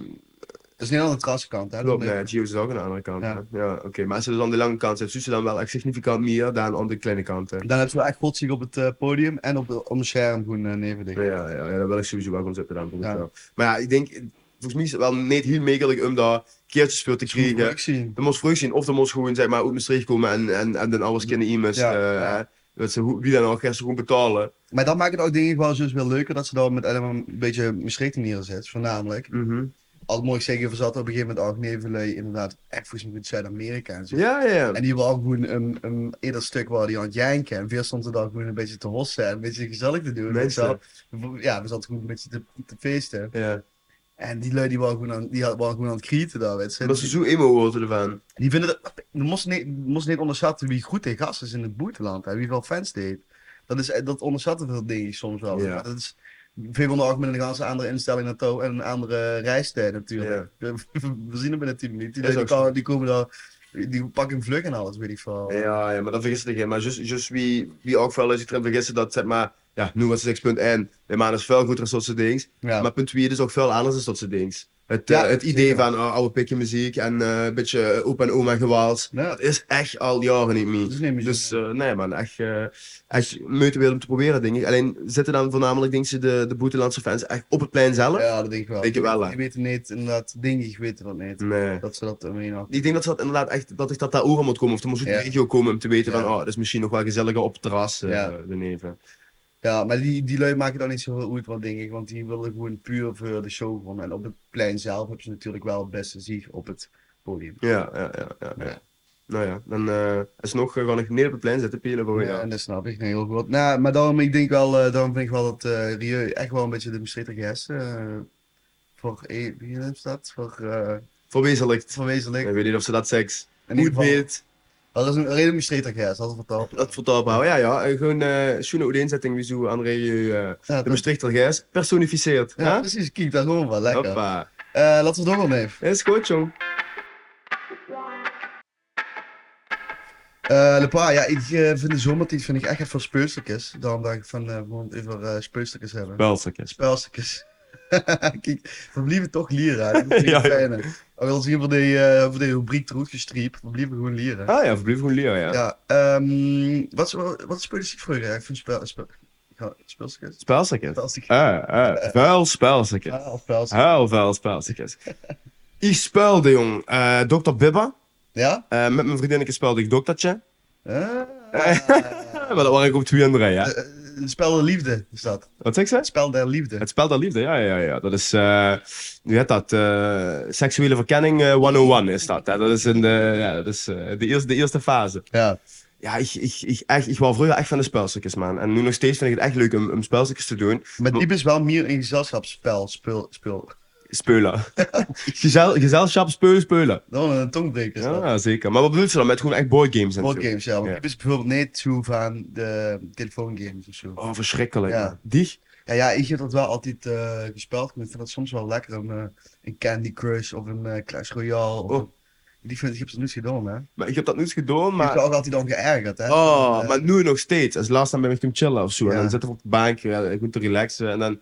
Speaker 1: Dat is niet aan de trassenkant, hè?
Speaker 2: klopt,
Speaker 1: Dat-
Speaker 2: nee, Gio is ook aan de andere kant. hè.
Speaker 1: Ja.
Speaker 2: Ja, oké. Maar als ze dus aan de lange kant zit, doet ze dan wel echt significant meer dan aan de kleine kant. hè.
Speaker 1: Dan hebben ze wel echt godsziek op het eh, podium en op, op het scherm gewoon eh, nevendig.
Speaker 2: Ja, ja, ja, daar wil ik sowieso wel gewoon zitten dan. volgens
Speaker 1: Ja.
Speaker 2: jou. Maar ja, ik denk, eh, volgens mij is het wel niet heel makkelijk om daar keertjes voor te
Speaker 1: Dus
Speaker 2: krijgen.
Speaker 1: Ik zie.
Speaker 2: Er moest vroeg zien of er moest gewoon zeg maar uit Maastricht komen en, en, en dan alles kinderen immers.
Speaker 1: Ja,
Speaker 2: eh,
Speaker 1: ja.
Speaker 2: hè, Dat ze hoe- wie dan ook, gaan ze gewoon betalen.
Speaker 1: Maar dat maakt het ook denk ik wel zo wel leuker dat ze daar met allemaal een beetje mischikking neerzet. Voornamelijk,
Speaker 2: Mhm.
Speaker 1: al moet ik zeggen, we zaten op een gegeven moment ook Nevelé inderdaad echt volgens mij met Zuid-Amerika en zo.
Speaker 2: Ja, ja, ja.
Speaker 1: En die wil gewoon een, een eerder stuk waar die aan het janken. En veel stonden daar gewoon een beetje te hossen en een beetje gezellig te doen. weet je wel. Ja, we zaten gewoon een beetje te, te feesten.
Speaker 2: Ja.
Speaker 1: En die lui die waren gewoon aan, die had- waren gewoon aan het krieten daar, weet je.
Speaker 2: Dat dus- ze zo emo worden ervan.
Speaker 1: Die vinden dat. Je moest niet, je moest niet onderschatten wie goed tegen gast is in het buitenland en wie veel fans deed. Dat, is, dat onderschatten veel dingen soms wel.
Speaker 2: Ja.
Speaker 1: Maar Dat is veel onder ook met een ganse andere instelling naartoe en een andere reistijd natuurlijk. We zien het binnen 10 minuten. Die,
Speaker 2: Is
Speaker 1: die,
Speaker 2: ook zo.
Speaker 1: kan- die komen daar. Die pakken een vlug en alles, weet ik veel.
Speaker 2: Ja, ja, maar dat vergis ik. hè. Maar just, just wie, wie ook wel eens erin vergissen dat zeg maar, ja, nu was het 6.1, de maan is veel goed als dat soort dingen.
Speaker 1: Ja.
Speaker 2: Maar punt 4 is ook veel anders dan dat soort dingen. Het,
Speaker 1: Ja,
Speaker 2: eh, het idee
Speaker 1: zeker.
Speaker 2: van oh, oude pikje muziek en eh, een beetje opa en oma gewaals.
Speaker 1: Ja.
Speaker 2: Dat is echt al jaren niet meer.
Speaker 1: Dat is niet meer zo.
Speaker 2: Dus eh, nee man, echt, eh echt moeite weer om te proberen denk ik. Alleen zitten dan voornamelijk denk je, de, de Boetenlandse fans echt op het plein zelf?
Speaker 1: ja, dat denk ik wel.
Speaker 2: Denk je wel, hè? Mm.
Speaker 1: Ik weet het niet, inderdaad. Denk ik, ik weet het niet.
Speaker 2: Nee.
Speaker 1: Dat ze dat ermee hadden.
Speaker 2: Ik denk dat ze dat inderdaad echt, dat ik dat daar ook aan moet komen. Of er moet uit de
Speaker 1: Ja.
Speaker 2: regio komen om te weten
Speaker 1: Ja.
Speaker 2: van, oh, dat is misschien nog wel gezelliger op het terras eh
Speaker 1: Ja.
Speaker 2: erneven.
Speaker 1: Ja, maar die, die lui maken dan niet zoveel uit, wat denk ik. Want die willen gewoon puur voor de show gewoon. En op het plein zelf heb je natuurlijk wel het beste zicht op het podium.
Speaker 2: Ja, ja, ja, ja. ja.
Speaker 1: Ja.
Speaker 2: Nou ja, dan eh is nog eh, gewoon een neer op het plein zitten, pielen voor
Speaker 1: Ja,
Speaker 2: Oh, ja.
Speaker 1: en dat snap ik nee, heel goed. Nou, maar daarom, ik denk wel, eh, daarom vind ik wel dat eh Rieu echt wel een beetje de beschikte gast eh voor, eh, wie heeft dat? Voor, eh
Speaker 2: Verwezenlijkt.
Speaker 1: verwezenlijk.
Speaker 2: Ik weet niet of ze dat seks
Speaker 1: In ieder
Speaker 2: goed
Speaker 1: geval,
Speaker 2: weet.
Speaker 1: dat is een redelijk beschikte gast, dat is verteld.
Speaker 2: Dat vertaalbaar. houden. Ja, ja. eh, Gewoon eh schoenen uiteenzetting wie zo aan regio eh
Speaker 1: Ja,
Speaker 2: de
Speaker 1: dat-
Speaker 2: Maastrichter Gijs personificeert.
Speaker 1: ja,
Speaker 2: Ja,
Speaker 1: precies, kijk, dat is gewoon wel lekker. Eh
Speaker 2: Hoppa.
Speaker 1: laten we doorgaan even.
Speaker 2: Is goed, jong.
Speaker 1: Eh Lepa, ja, ik eh, vind de zomertijd vind ik echt even voor speustukjes. Daarom dacht ik van, eh, we gaan het even eh speustukjes hebben.
Speaker 2: Belstukjes.
Speaker 1: Spelstukjes. Kijk, we blijven toch leren. hè. Dat is
Speaker 2: Ja,
Speaker 1: ja,
Speaker 2: ja.
Speaker 1: fijne. Ook al zien we die, eh voor die rubriek troet gestriept, we blijven gewoon leren.
Speaker 2: Ah ja, verblijf gewoon Leo, ja.
Speaker 1: Ja, ehm wat, wat, wat speelde ik vroeger? Ik vind spel, spel, ja, spelstukjes.
Speaker 2: Spelstukjes.
Speaker 1: Spelstukjes.
Speaker 2: Ah, ah. Vuil spelstukjes.
Speaker 1: Ah, of spelstukjes.
Speaker 2: Heel veel spelletjes. ik speelde, jong, eh Dr. Bibba.
Speaker 1: Ja?
Speaker 2: Eh, met mijn vriendinnetje speelde ik doktertje.
Speaker 1: Eh,
Speaker 2: maar dat waren ik op twee en drie, hè.
Speaker 1: eh, het spel der liefde is dat.
Speaker 2: Wat zeg ze?
Speaker 1: Het spel der liefde.
Speaker 2: Het spel der liefde, ja, ja, ja. Dat is, eh hoe heet dat? eh, seksuele verkenning eh, 101 is dat. Hè? Dat is, in de, ja, dat is eh, de, eerste, de eerste fase.
Speaker 1: Ja.
Speaker 2: Ja, ik, ik, ik, echt, ik wou vroeger echt van de spelstukjes, man. En nu nog steeds vind ik het echt leuk om, om spelstukjes te doen.
Speaker 1: Maar diep is wel meer een gezelschapsspel. Spul, spul.
Speaker 2: Speulen. Gezel, gezelschap, speulen, speulen.
Speaker 1: Dan een tongbreker is dat.
Speaker 2: Ja, zeker. Maar wat bedoelt ze dan met gewoon echt boardgames en zo?
Speaker 1: Boardgames, ja. Maar
Speaker 2: Ja.
Speaker 1: diep is bijvoorbeeld niet zo van de telefoongames of zo.
Speaker 2: Oh, verschrikkelijk.
Speaker 1: Ja.
Speaker 2: Die?
Speaker 1: Ja, ja, ik heb dat wel altijd eh, gespeeld. Maar ik vind dat soms wel lekker. Een, eh, een Candy Crush of een eh, Clash Royale. Of
Speaker 2: Oh.
Speaker 1: een- Die vind ik heb ze nooit gedaan, hè.
Speaker 2: Maar ik heb dat niet gedaan,
Speaker 1: Maar... Ik
Speaker 2: maar...
Speaker 1: heb ook altijd dan geërgerd, hè.
Speaker 2: Oh,
Speaker 1: Eh,
Speaker 2: maar nu nog steeds. Als laatst dan ben ik hem chillen of zo. En
Speaker 1: Ja.
Speaker 2: dan zitten we op de bank, ja, ik moet te relaxen. En dan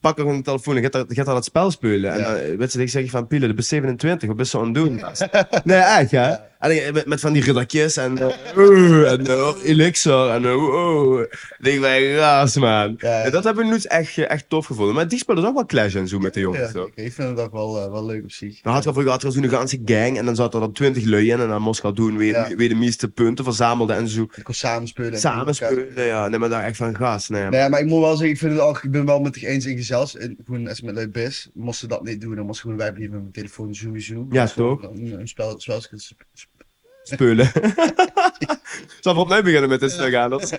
Speaker 2: pak ik een telefoon en gaat dat- gaat dat het spel spelen. En
Speaker 1: Ja.
Speaker 2: dan eh, weet ze, ik zeg je van Pielen, dat ben 27, wat ben je aan het doen? nee, echt hè? En ik- eh, met, met van die riddertjes en eh, oeh, en eh, elixir en eh, oeh. Ik Denk bij raas man.
Speaker 1: Ja.
Speaker 2: En dat hebben we nu echt, eh, echt tof gevonden. Maar die spelen dus ook wel Clash en zo met de jongens.
Speaker 1: ja,
Speaker 2: toch?
Speaker 1: ik vind het ook wel, eh, wel leuk op zich.
Speaker 2: Dan had je vroeger had je zo'n ganse gang en dan zaten er dan 20 lui in en dan moest je dat doen, weer,
Speaker 1: Ja.
Speaker 2: weer de meeste punten verzamelden en zo.
Speaker 1: Ik kon samen spelen. en
Speaker 2: Samen
Speaker 1: tegen elkaar-
Speaker 2: spelen, ja. Neem maar daar echt van gas. Nee.
Speaker 1: Nee, maar ik moet wel zeggen, ik, vind het ook, ik ben wel met je eens in gezels. En gewoon als je met leuk best, moest ze dat niet doen, dan moest gewoon wij blijven met mijn telefoon sowieso.
Speaker 2: Ja, toch?
Speaker 1: Een, een spel, spel,
Speaker 2: Speulen. Zal we opnieuw beginnen met dit stuk aan? dat-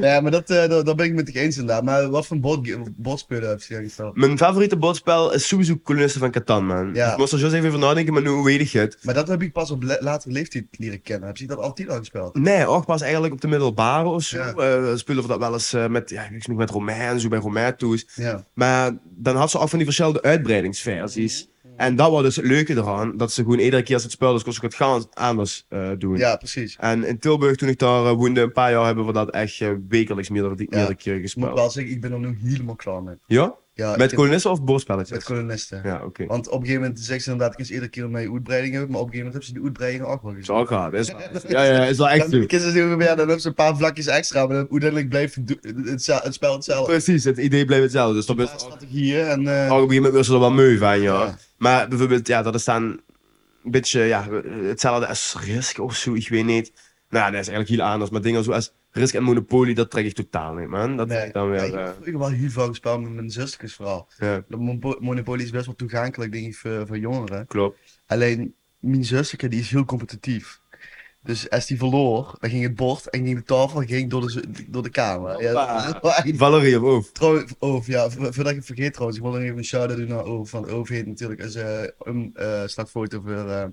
Speaker 1: Ja, maar dat, eh, dat, dat ben ik met je eens inderdaad. Maar wat voor bot, botspelen heb je dan gesteld?
Speaker 2: Mijn favoriete bordspel is sowieso Kolonisten van Catan, man.
Speaker 1: Ja.
Speaker 2: Ik moest er zo eens even over nadenken, maar nu weet ik het.
Speaker 1: Maar dat heb ik pas op le- latere leeftijd leren kennen. Heb je dat altijd al gespeeld?
Speaker 2: Nee, ook pas eigenlijk op de middelbare of zo.
Speaker 1: Ja.
Speaker 2: eh, speelden we dat wel eens eh, met, ja, ik weet niet, met Romein en zo, bij Romein toes.
Speaker 1: Ja.
Speaker 2: Maar dan had ze ook van die verschillende uitbreidingsversies.
Speaker 1: Mm-hmm.
Speaker 2: En dat was dus het leuke eraan, dat ze gewoon iedere keer als het spel dus kon ze het gaan anders eh, doen.
Speaker 1: Ja, precies.
Speaker 2: En in Tilburg, toen ik daar eh, woonde, een paar jaar hebben we dat echt eh, wekelijks meerdere, meerdere keer
Speaker 1: Ik Dus moet
Speaker 2: gespeeld.
Speaker 1: wel zeggen, ik ben er nu helemaal klaar mee.
Speaker 2: Ja?
Speaker 1: Ja, Ah, ik
Speaker 2: Met
Speaker 1: heb-
Speaker 2: kolonisten of bordspelletjes?
Speaker 1: met Oh, kolonisten.
Speaker 2: Ja, oké.
Speaker 1: Want op een gegeven moment zegt ze inderdaad, ik eens iedere keer mijn uitbreiding hebben, maar op een gegeven moment hebben ze die uitbreidingen ook wel gezien.
Speaker 2: Zo gaat, is dat. Ja, ja, is dat echt
Speaker 1: Dan
Speaker 2: zo.
Speaker 1: kiezen ze heel ja, dan hebben ze een paar vlakjes extra, maar dan- uiteindelijk blijft het, do- het, za- het spel hetzelfde.
Speaker 2: Precies, het idee blijft hetzelfde. Dus dat
Speaker 1: Een
Speaker 2: best...
Speaker 1: paar
Speaker 2: Op
Speaker 1: strategieën en... eh,
Speaker 2: een gegeven moment wil ze er wel mee van, ja.
Speaker 1: Ja.
Speaker 2: Maar bijvoorbeeld, ja, dat is dan een beetje ja, hetzelfde als Risk of zo, ik weet niet. Nou, ja, dat is eigenlijk heel anders. Maar dingen zoals Risk en Monopoly, dat trek ik totaal niet, man. Dat
Speaker 1: nee,
Speaker 2: vind ik dan weer...
Speaker 1: ik
Speaker 2: eh,
Speaker 1: heb vroeger wel heel veel gespeeld met mijn zusjes vooral.
Speaker 2: ja,
Speaker 1: De Monpo- Monopoly is best wel toegankelijk, denk ik, voor, voor jongeren.
Speaker 2: klopt.
Speaker 1: Alleen, mijn zusje die is heel competitief. Dus als die verloor, dan ging het bord en ging de tafel ging door de, z- door de kamer. Ja,
Speaker 2: Hoppa.
Speaker 1: dat is wel echt-
Speaker 2: Valerie op hoofd.
Speaker 1: Trouwens, Oof, ja, vo- voordat ik het vergeet trouwens, ik wil nog even een shout-out doen naar Oof, want Oof heeft natuurlijk eens, eh, een eh slagfoto voor eh,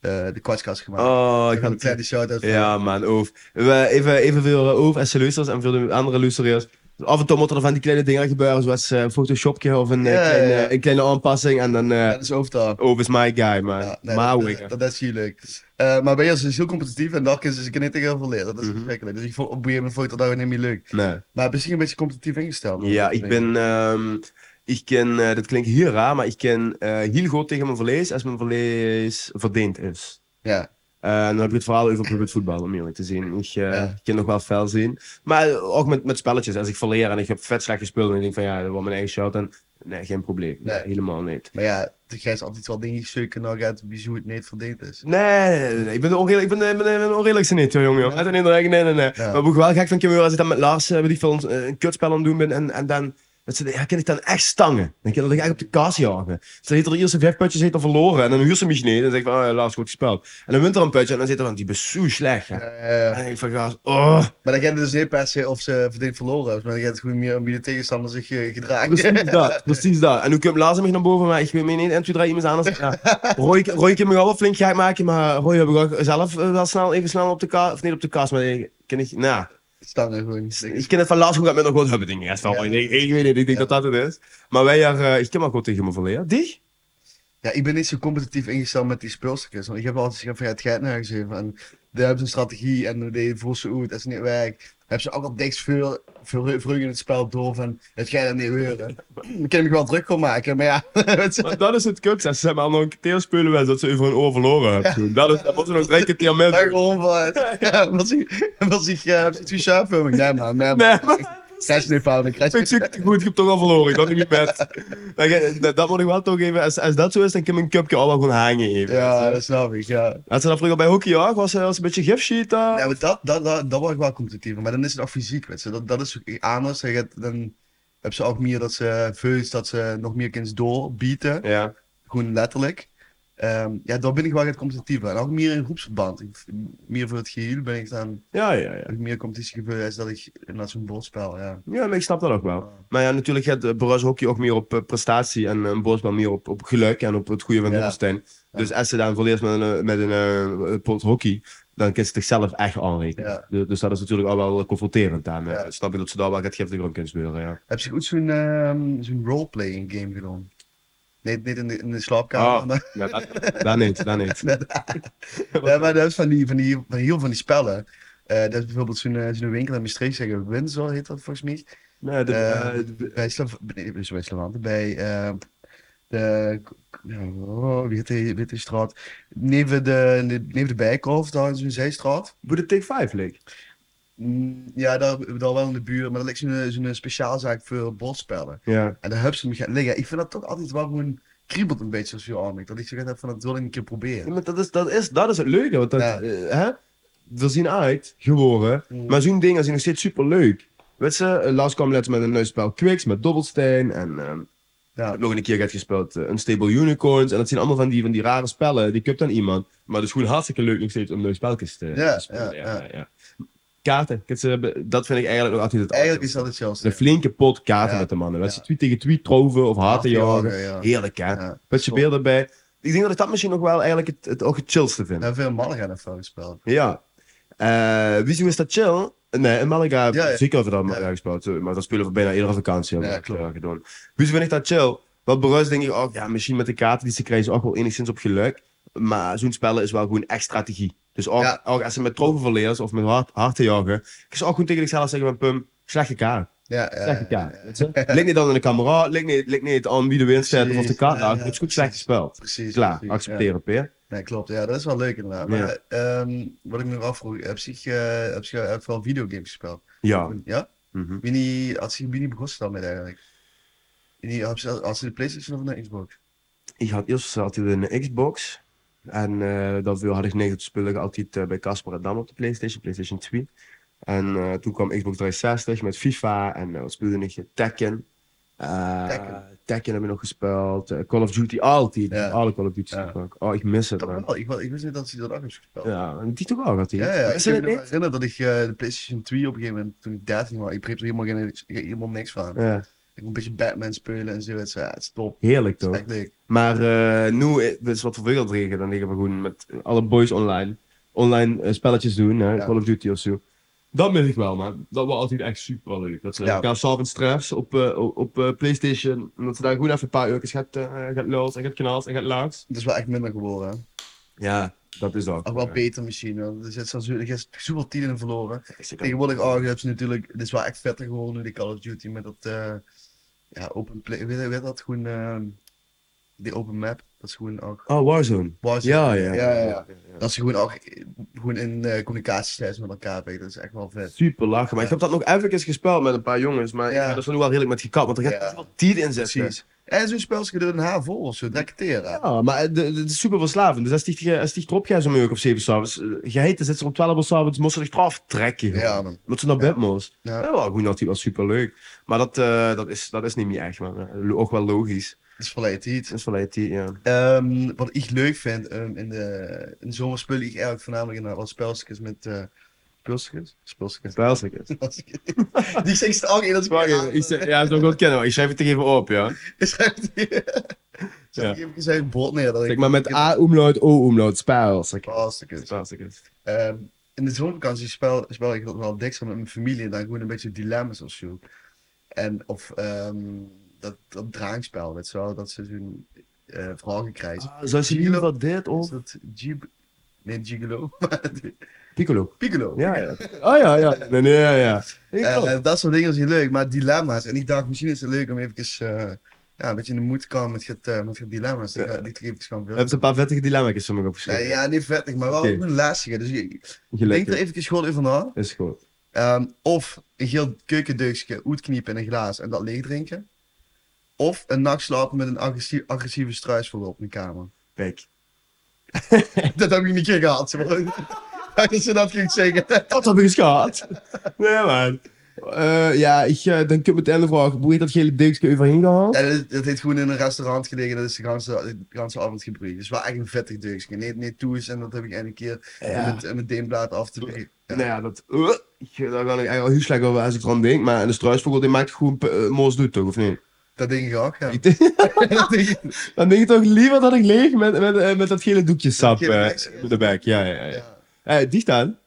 Speaker 1: eh, de kwartskast gemaakt.
Speaker 2: Oh, ik
Speaker 1: ik
Speaker 2: ga
Speaker 1: een kleine shout-out voor-
Speaker 2: Ja, man, oof. We- Even, even veel eh, oof en luisteraars en veel de andere luisteraars. Af en toe moeten er van die kleine dingen gebeuren, zoals eh, een Photoshopje of een, eh,
Speaker 1: Ja, ja,
Speaker 2: kleine,
Speaker 1: ja.
Speaker 2: een kleine aanpassing. En dan, eh
Speaker 1: Ja, dat is Oof daar.
Speaker 2: oof is my guy, man.
Speaker 1: Ja, nee,
Speaker 2: maar
Speaker 1: dat,
Speaker 2: wikker.
Speaker 1: dat, dat is heel leuk. Eh, maar bij ons is heel competitief en daar kunnen ze zich niet tegen heel veel leren. Dat is
Speaker 2: Mhm.
Speaker 1: verschrikkelijk. Dus ik vond op een gegeven moment vond ik dat ook niet meer leuk.
Speaker 2: Nee.
Speaker 1: Maar misschien een beetje competitief ingesteld.
Speaker 2: Ja, ik ben... ehm, ik ken, eh, dat klinkt heel raar, maar ik ken eh, heel goed tegen mijn verlees als mijn verlees verdeend is.
Speaker 1: Ja,
Speaker 2: Eh, en dan heb je het verhaal over bijvoorbeeld voetbal, om eerlijk te zien. Ik eh,
Speaker 1: Ja.
Speaker 2: ik kan nog wel fel zien. Maar ook met, met spelletjes. Als ik verleer en ik heb vet slecht gespeeld en ik denk van ja, dat was mijn eigen shout. En, nee, geen probleem.
Speaker 1: Nee.
Speaker 2: Nee, helemaal niet.
Speaker 1: maar ja, de grijs altijd wel dingen zoeken naar gaat wie zo het niet verdiend is.
Speaker 2: Nee, nee, nee, nee, ik ben de onredelijk, ik ben, de- ik ben, de- ik ben de onredelijkste niet, joh, jongen. joh.
Speaker 1: Ja.
Speaker 2: Uit en in de eigen- Nee, nee, nee.
Speaker 1: Ja.
Speaker 2: Maar wat ik wel gek van Kim als ik dan met Lars, eh, weet ik veel, ons, eh, een kutspel aan het doen ben en, en dan... Dat ze, ja, kan ik dan echt stangen? Dan kan ik echt op de kaas jagen. Ze heeft er de eerste vijf putjes heeft er verloren en dan huurt ze mij niet. En dan zeg ik van, oh, ja, Lars, goed gespeeld. En dan wint er een putje en dan zit er van, die ben zo slecht. hè.
Speaker 1: Eh,
Speaker 2: En dan denk ik van, gaas, oh.
Speaker 1: maar dan gaat het dus niet per se of ze verdiend verloren hebben, maar dan gaat het gewoon meer om wie de tegenstander zich eh, gedraagt.
Speaker 2: Precies dat, precies dat. En nu komt Lars mij naar boven, maar ik weet me niet, en toen draai iemand anders. Ja. Roy, Roy kan me wel wat flink gek maken, maar Roy heb ik ook zelf eh, wel snel, even snel op de kaas, of niet op de kaas, maar ik ken ik, nou,
Speaker 1: Staan er gewoon. Ik-
Speaker 2: ik ken het van Lars goed, met nog wat hebben dingen. Van,
Speaker 1: Ja.
Speaker 2: Roy. ik, ik weet het, ik denk dat dat het is. Maar wij er, eh, ik ken maar goed tegen me verleden. Die?
Speaker 1: Ja, ik ben niet zo competitief ingesteld met die speelstukjes. Want ik heb altijd gezegd van ja, het gaat nergens even. En daar hebben ze een strategie en die voelt ze uit als het niet werkt. Dan hebben ze ook al diks veel, veel vreugde in het spel door van het gaat er niet gebeuren. Ik kan me wel druk om maken, maar ja. weet je.
Speaker 2: Maar dat is het kut, ze hebben al nog een keer spelen wij, dat ze over een oor verloren hebben. toen. Dat is, dat moeten we nog drie keer
Speaker 1: Daar
Speaker 2: met.
Speaker 1: gewoon van. Ja, was ik, was ik, eh, was ik twee schuiven? Nee, man, nee, man.
Speaker 2: Nee, maar-
Speaker 1: Crash Nepal, dan crash
Speaker 2: Ik zie het goed, ik heb toch al verloren. Ik had niet met. Dan ge- Dat, dat moet ik wel toegeven. Als, als dat zo is, dan kan mijn cupje al wel gewoon hangen. Even.
Speaker 1: Ja,
Speaker 2: dat...
Speaker 1: dat snap ik, ja.
Speaker 2: Had ze dat vroeger bij hockey ook? Was ze was een beetje gifsheet? eh?
Speaker 1: Ja, maar dat, dat, dat, dat word ik wel competitiever, maar dan is het ook fysiek, weet je. Dat, dat is ook anders. Dan gaat- Dan heb ze ook meer dat ze veus, dat ze nog meer kunnen doorbieten.
Speaker 2: ja.
Speaker 1: Gewoon letterlijk. Ehm, ja, daar ben ik wel het competitiever. En ook meer in groepsverband. Ik, meer voor het geheel ben ik dan
Speaker 2: Ja, ja, ja.
Speaker 1: heb ik meer competitiegevoel als dat ik naar zo'n bordspel, ja.
Speaker 2: Ja, maar ik snap dat ook wel. Maar ja, natuurlijk gaat eh, Boris hockey ook meer op eh, prestatie en een borstbal meer op, op geluk en op het goede van
Speaker 1: Ja.
Speaker 2: doelstelling. Dus als ze dan verleert met een, eh, met een eh, pot hockey, dan kan ze zichzelf echt aanrekenen.
Speaker 1: Ja.
Speaker 2: Dus, dus dat is natuurlijk al wel confronterend. En, eh,
Speaker 1: Ja.
Speaker 2: Snap je dat ze daar wel gaat geven de grond kunnen speuren, ja.
Speaker 1: Heb je goed zo'n ehm, zo'n roleplaying game gedaan? Nee, niet in de, in de slaapkamer,
Speaker 2: Oh.
Speaker 1: maar,
Speaker 2: Ja, dat, dat niet, dat niet.
Speaker 1: nee, maar dat is van, die, van, die, van heel van die spellen. Eh, dat is bijvoorbeeld zo'n eh, zo'n winkel in Maastricht, zeggen Windsor heet dat volgens mij.
Speaker 2: Nee, de,
Speaker 1: Eh,
Speaker 2: eh, de-
Speaker 1: bij Slav- nee, bij Slav- Slavanten, bij eh, de, oh, wie heet die, wie heet die straat? Neven de, de, neven de Bijkhof, daar in zo'n zijstraat.
Speaker 2: Hoe de Take 5 leek.
Speaker 1: Mm, Ja, daar, daar wel in de buurt, maar dat lijkt zo'n zo'n speciaalzaak voor bordspellen.
Speaker 2: Ja.
Speaker 1: En de hubs hem gaan liggen. Ik vind dat toch altijd wel gewoon kriebelt een beetje als je aan Dat ik zo heb van dat wil ik een keer proberen.
Speaker 2: maar dat is, dat, is, dat is het leuke. Want dat,
Speaker 1: Ja.
Speaker 2: eh, hè? We zien uit, geworden.
Speaker 1: Mm.
Speaker 2: Maar zo'n dingen zijn nog steeds super leuk. Weet ze, eh, laatst kwam let's met een nieuw spel Quicks, met Dobbelstein. En ehm
Speaker 1: Ja,
Speaker 2: heb nog een keer gaat gespeeld eh, Unstable Unicorns. En dat zijn allemaal van die, van die rare spellen. Die cupt dan iemand. Maar het is gewoon hartstikke leuk nog steeds om nieuwe spelletjes te,
Speaker 1: Ja,
Speaker 2: te spelen.
Speaker 1: ja, ja.
Speaker 2: Kaarten. Kijk, ze- Dat vind ik eigenlijk nog altijd het
Speaker 1: eigenlijk is dat hetzelfde.
Speaker 2: een flinke pot kaarten
Speaker 1: Ja,
Speaker 2: met de mannen. Weet je,
Speaker 1: ja.
Speaker 2: twee tegen twee troven of haten jagen.
Speaker 1: Ja.
Speaker 2: Heerlijk, hè?
Speaker 1: Ja.
Speaker 2: Met je beelden bij. Ik denk dat ik dat misschien nog wel eigenlijk het, het, ook het chillste vind.
Speaker 1: Ja, veel mannen gaan dat fout spelen.
Speaker 2: Ja. Eh wieso is dat chill? Nee, in Malaga heb ik
Speaker 1: Ja, ja.
Speaker 2: zeker over dat
Speaker 1: Ja.
Speaker 2: Malaga gespeeld. eh, Maar dat spelen we bijna iedere vakantie. hebben
Speaker 1: Ja,
Speaker 2: we
Speaker 1: klopt.
Speaker 2: dat, eh, gedaan. Wieso vind ik dat chill? Wat berust denk ik ook, ja, misschien met de kaarten die ze krijgen, is ook wel enigszins op geluk. Maar zo'n spellen is wel gewoon echt strategie. Dus ook,
Speaker 1: Ja.
Speaker 2: ook als ze met troven verleren of met hard, hard te jagen, is ook gewoon tegen zichzelf zeggen van Pum, slechte kaart.
Speaker 1: Ja, ja,
Speaker 2: Slechte
Speaker 1: ja,
Speaker 2: kaart. weet je? Ligt niet dan in de camera, ligt niet, ligt niet aan wie de winst zet of de
Speaker 1: Precies,
Speaker 2: kaart
Speaker 1: ja,
Speaker 2: raakt.
Speaker 1: ja,
Speaker 2: Het is
Speaker 1: precies.
Speaker 2: goed slecht gespeeld.
Speaker 1: Precies.
Speaker 2: Klaar,
Speaker 1: precies, Ja.
Speaker 2: accepteren, Peer.
Speaker 1: Nee, klopt. Ja, dat is wel leuk inderdaad. Maar ehm, wat ik me nog afvroeg, heb je, eh, heb je ook wel videogames gespeeld?
Speaker 2: Ja.
Speaker 1: Ja?
Speaker 2: Mhm.
Speaker 1: Wie niet, had je wie niet begonnen dan met eigenlijk? Wie niet, had ze had ze de PlayStation of een Xbox?
Speaker 2: Ik had eerst altijd een Xbox. En eh, daarvoor had ik negen spullen altijd eh, bij Casper en Dan op de PlayStation, PlayStation 2. En eh, toen kwam Xbox 360 met FIFA en eh, wat speelde ik? Tekken. Eh,
Speaker 1: Tekken.
Speaker 2: Tekken heb ik nog gespeeld. eh, Call of Duty, altijd.
Speaker 1: Ja.
Speaker 2: Alle Call of Duty.
Speaker 1: Ja.
Speaker 2: spelen. Oh, ik mis het,
Speaker 1: Dat
Speaker 2: man.
Speaker 1: wel. Ik, wa- ik wist niet dat ze dat ook heeft gespeeld.
Speaker 2: Ja, en die toch ook had hij.
Speaker 1: Ja, ja. Ik
Speaker 2: Is
Speaker 1: kan
Speaker 2: het
Speaker 1: me nog
Speaker 2: niet?
Speaker 1: herinneren dat ik eh, de PlayStation 3 op een gegeven moment, toen ik 13 was, ik begreep er helemaal, geen, ik- helemaal niks van.
Speaker 2: Ja,
Speaker 1: Ik moet een beetje Batman spelen en zo. Het is, ja, het is top.
Speaker 2: heerlijk
Speaker 1: Het is
Speaker 2: toch?
Speaker 1: echt leuk.
Speaker 2: Maar eh, nu eh, dat is wat verwikkeld liggen. Dan liggen we gewoon met alle boys online. Online eh, spelletjes doen, hè,
Speaker 1: Ja.
Speaker 2: Call of Duty of zo. Dat mis ik wel, man. Dat was altijd echt super leuk. Dat ze
Speaker 1: Ja.
Speaker 2: elkaar s'avonds treffs op, eh, op, op eh, PlayStation. En dat ze daar gewoon even een paar uurtjes gaat, eh gaat los en gaat knalt en gaat langs.
Speaker 1: Het is wel echt minder geworden. hè.
Speaker 2: Ja, dat is ook.
Speaker 1: Ook wel
Speaker 2: eh,
Speaker 1: beter misschien. want Er zit zo- er is zoveel tijd in verloren.
Speaker 2: zeker.
Speaker 1: Tegenwoordig oh, je hebt ze natuurlijk, het is wel echt vetter geworden nu die Call of Duty met dat eh, ja, open play. Weet, je- weet dat gewoon ehm, die open map? Dat is gewoon ook.
Speaker 2: Oh, Warzone.
Speaker 1: Warzone.
Speaker 2: Ja, ja.
Speaker 1: Ja, ja, ja. Dat ze gewoon ook eh, gewoon in eh, communicatie zijn met elkaar. weet je, Dat is echt wel vet.
Speaker 2: Super lachen. Maar ik heb dat nog even gespeeld met een paar jongens. Maar
Speaker 1: Ja.
Speaker 2: ik ben er zo nu wel redelijk met gekapt. Want er gaat
Speaker 1: Ja.
Speaker 2: wel tijd in zitten.
Speaker 1: Precies. En zo'n spel is er een haar vol of zo, tracteren.
Speaker 2: Ja, maar het het- het is super verslavend. Dus als die, als die erop gaat zo'n uur of zeven s'avonds, Eh, geheten zit ze om 12 uur s'avonds, moest ze zich eraf trekken. joh.
Speaker 1: Ja, man.
Speaker 2: Dat ze naar bed moest.
Speaker 1: Ja.
Speaker 2: Ja. wel goed, dat was super leuk. Maar dat, eh, dat, is, dat is niet meer echt, man. Eh, Ook wel logisch.
Speaker 1: Dat is volledig niet.
Speaker 2: Dat is wel uit die, ja.
Speaker 1: Ehm, wat ik leuk vind, ehm, in, de, in de zomer speel ik eigenlijk voornamelijk in wat spelstukjes met. eh spelstukjes? Spelstukjes.
Speaker 2: Spelselijk is.
Speaker 1: Die zeg ik ook in dat
Speaker 2: Wacht even, ik zeg- Ja, dat is ook goed kennen, maar ik schrijf het er even op, ja.
Speaker 1: Schrijf even zijn bord neer dat
Speaker 2: Zeg
Speaker 1: ik
Speaker 2: maar met A-umlaut, O-umlaut, spelselijk.
Speaker 1: plastic is.
Speaker 2: Spelselijk is.
Speaker 1: Ehm, in de zomervakantie spel, spel ik dat wel dikst met mijn familie en dan gewoon een beetje dilemma's of zo. En of ehm, dat, dat draaispel, weet je wel, dat ze zo'n eh vragen krijgen.
Speaker 2: Zoals Ah, je nu wat dit
Speaker 1: Is
Speaker 2: of...
Speaker 1: dat Gib... Nee, Gigolo.
Speaker 2: Piccolo.
Speaker 1: Piccolo.
Speaker 2: Ja, ja. Oh ja, ja. Nee, nee, ja, ja. Ik
Speaker 1: Eh,
Speaker 2: ook.
Speaker 1: eh, dat soort dingen zijn leuk, maar dilemma's. En ik dacht, misschien is het leuk om even eh ja, een beetje in de moed te komen met het, eh, met het dilemma's. Ik ga dit even gaan
Speaker 2: Hebben ze een paar vettige dilemma's voor me
Speaker 1: Nee,
Speaker 2: opgeschreven?
Speaker 1: ja, niet vettig, maar wel
Speaker 2: Oké.
Speaker 1: een lastige. Dus ik- ik
Speaker 2: Gelukkig.
Speaker 1: denk er even gewoon over na.
Speaker 2: Is goed.
Speaker 1: Ehm, of een geel keukendeukje uitkniepen in een glaas en dat leeg drinken. Of een nacht slapen met een agressie- agressieve struisvogel op mijn kamer.
Speaker 2: Kijk.
Speaker 1: dat heb ik niet keer gehad. zeg maar. Ik dacht ze dat ging zeggen.
Speaker 2: Dat heb ik eens gehad. Nee, man. Eh, ja, ik eh, dan kun je meteen de vraag, hoe heet dat gele deukje overheen gehaald?
Speaker 1: Ja, dat, dat heeft gewoon in een restaurant gelegen. Dat is de ganse, de ganse avond gebruikt. Dus wel echt een vettig deukje. Nee, nee, toes. En dat heb ik één keer
Speaker 2: Ja.
Speaker 1: met, met Deenblaad af te leggen.
Speaker 2: Nou ja, dat, uh, daar kan ik eigenlijk al heel slecht over als ik eraan denk. Maar en de struisvogel die maakt gewoon uh, moos doet toch, of niet?
Speaker 1: Dat ding ik ook, ja. dat ding ik-
Speaker 2: Dan denk ik toch liever dat ik leeg met, met, eh, met dat gele doekje sap
Speaker 1: gele
Speaker 2: eh,
Speaker 1: doekje.
Speaker 2: met de bek. Ja, ja, ja. ja.
Speaker 1: ja.
Speaker 2: Eh, die staan.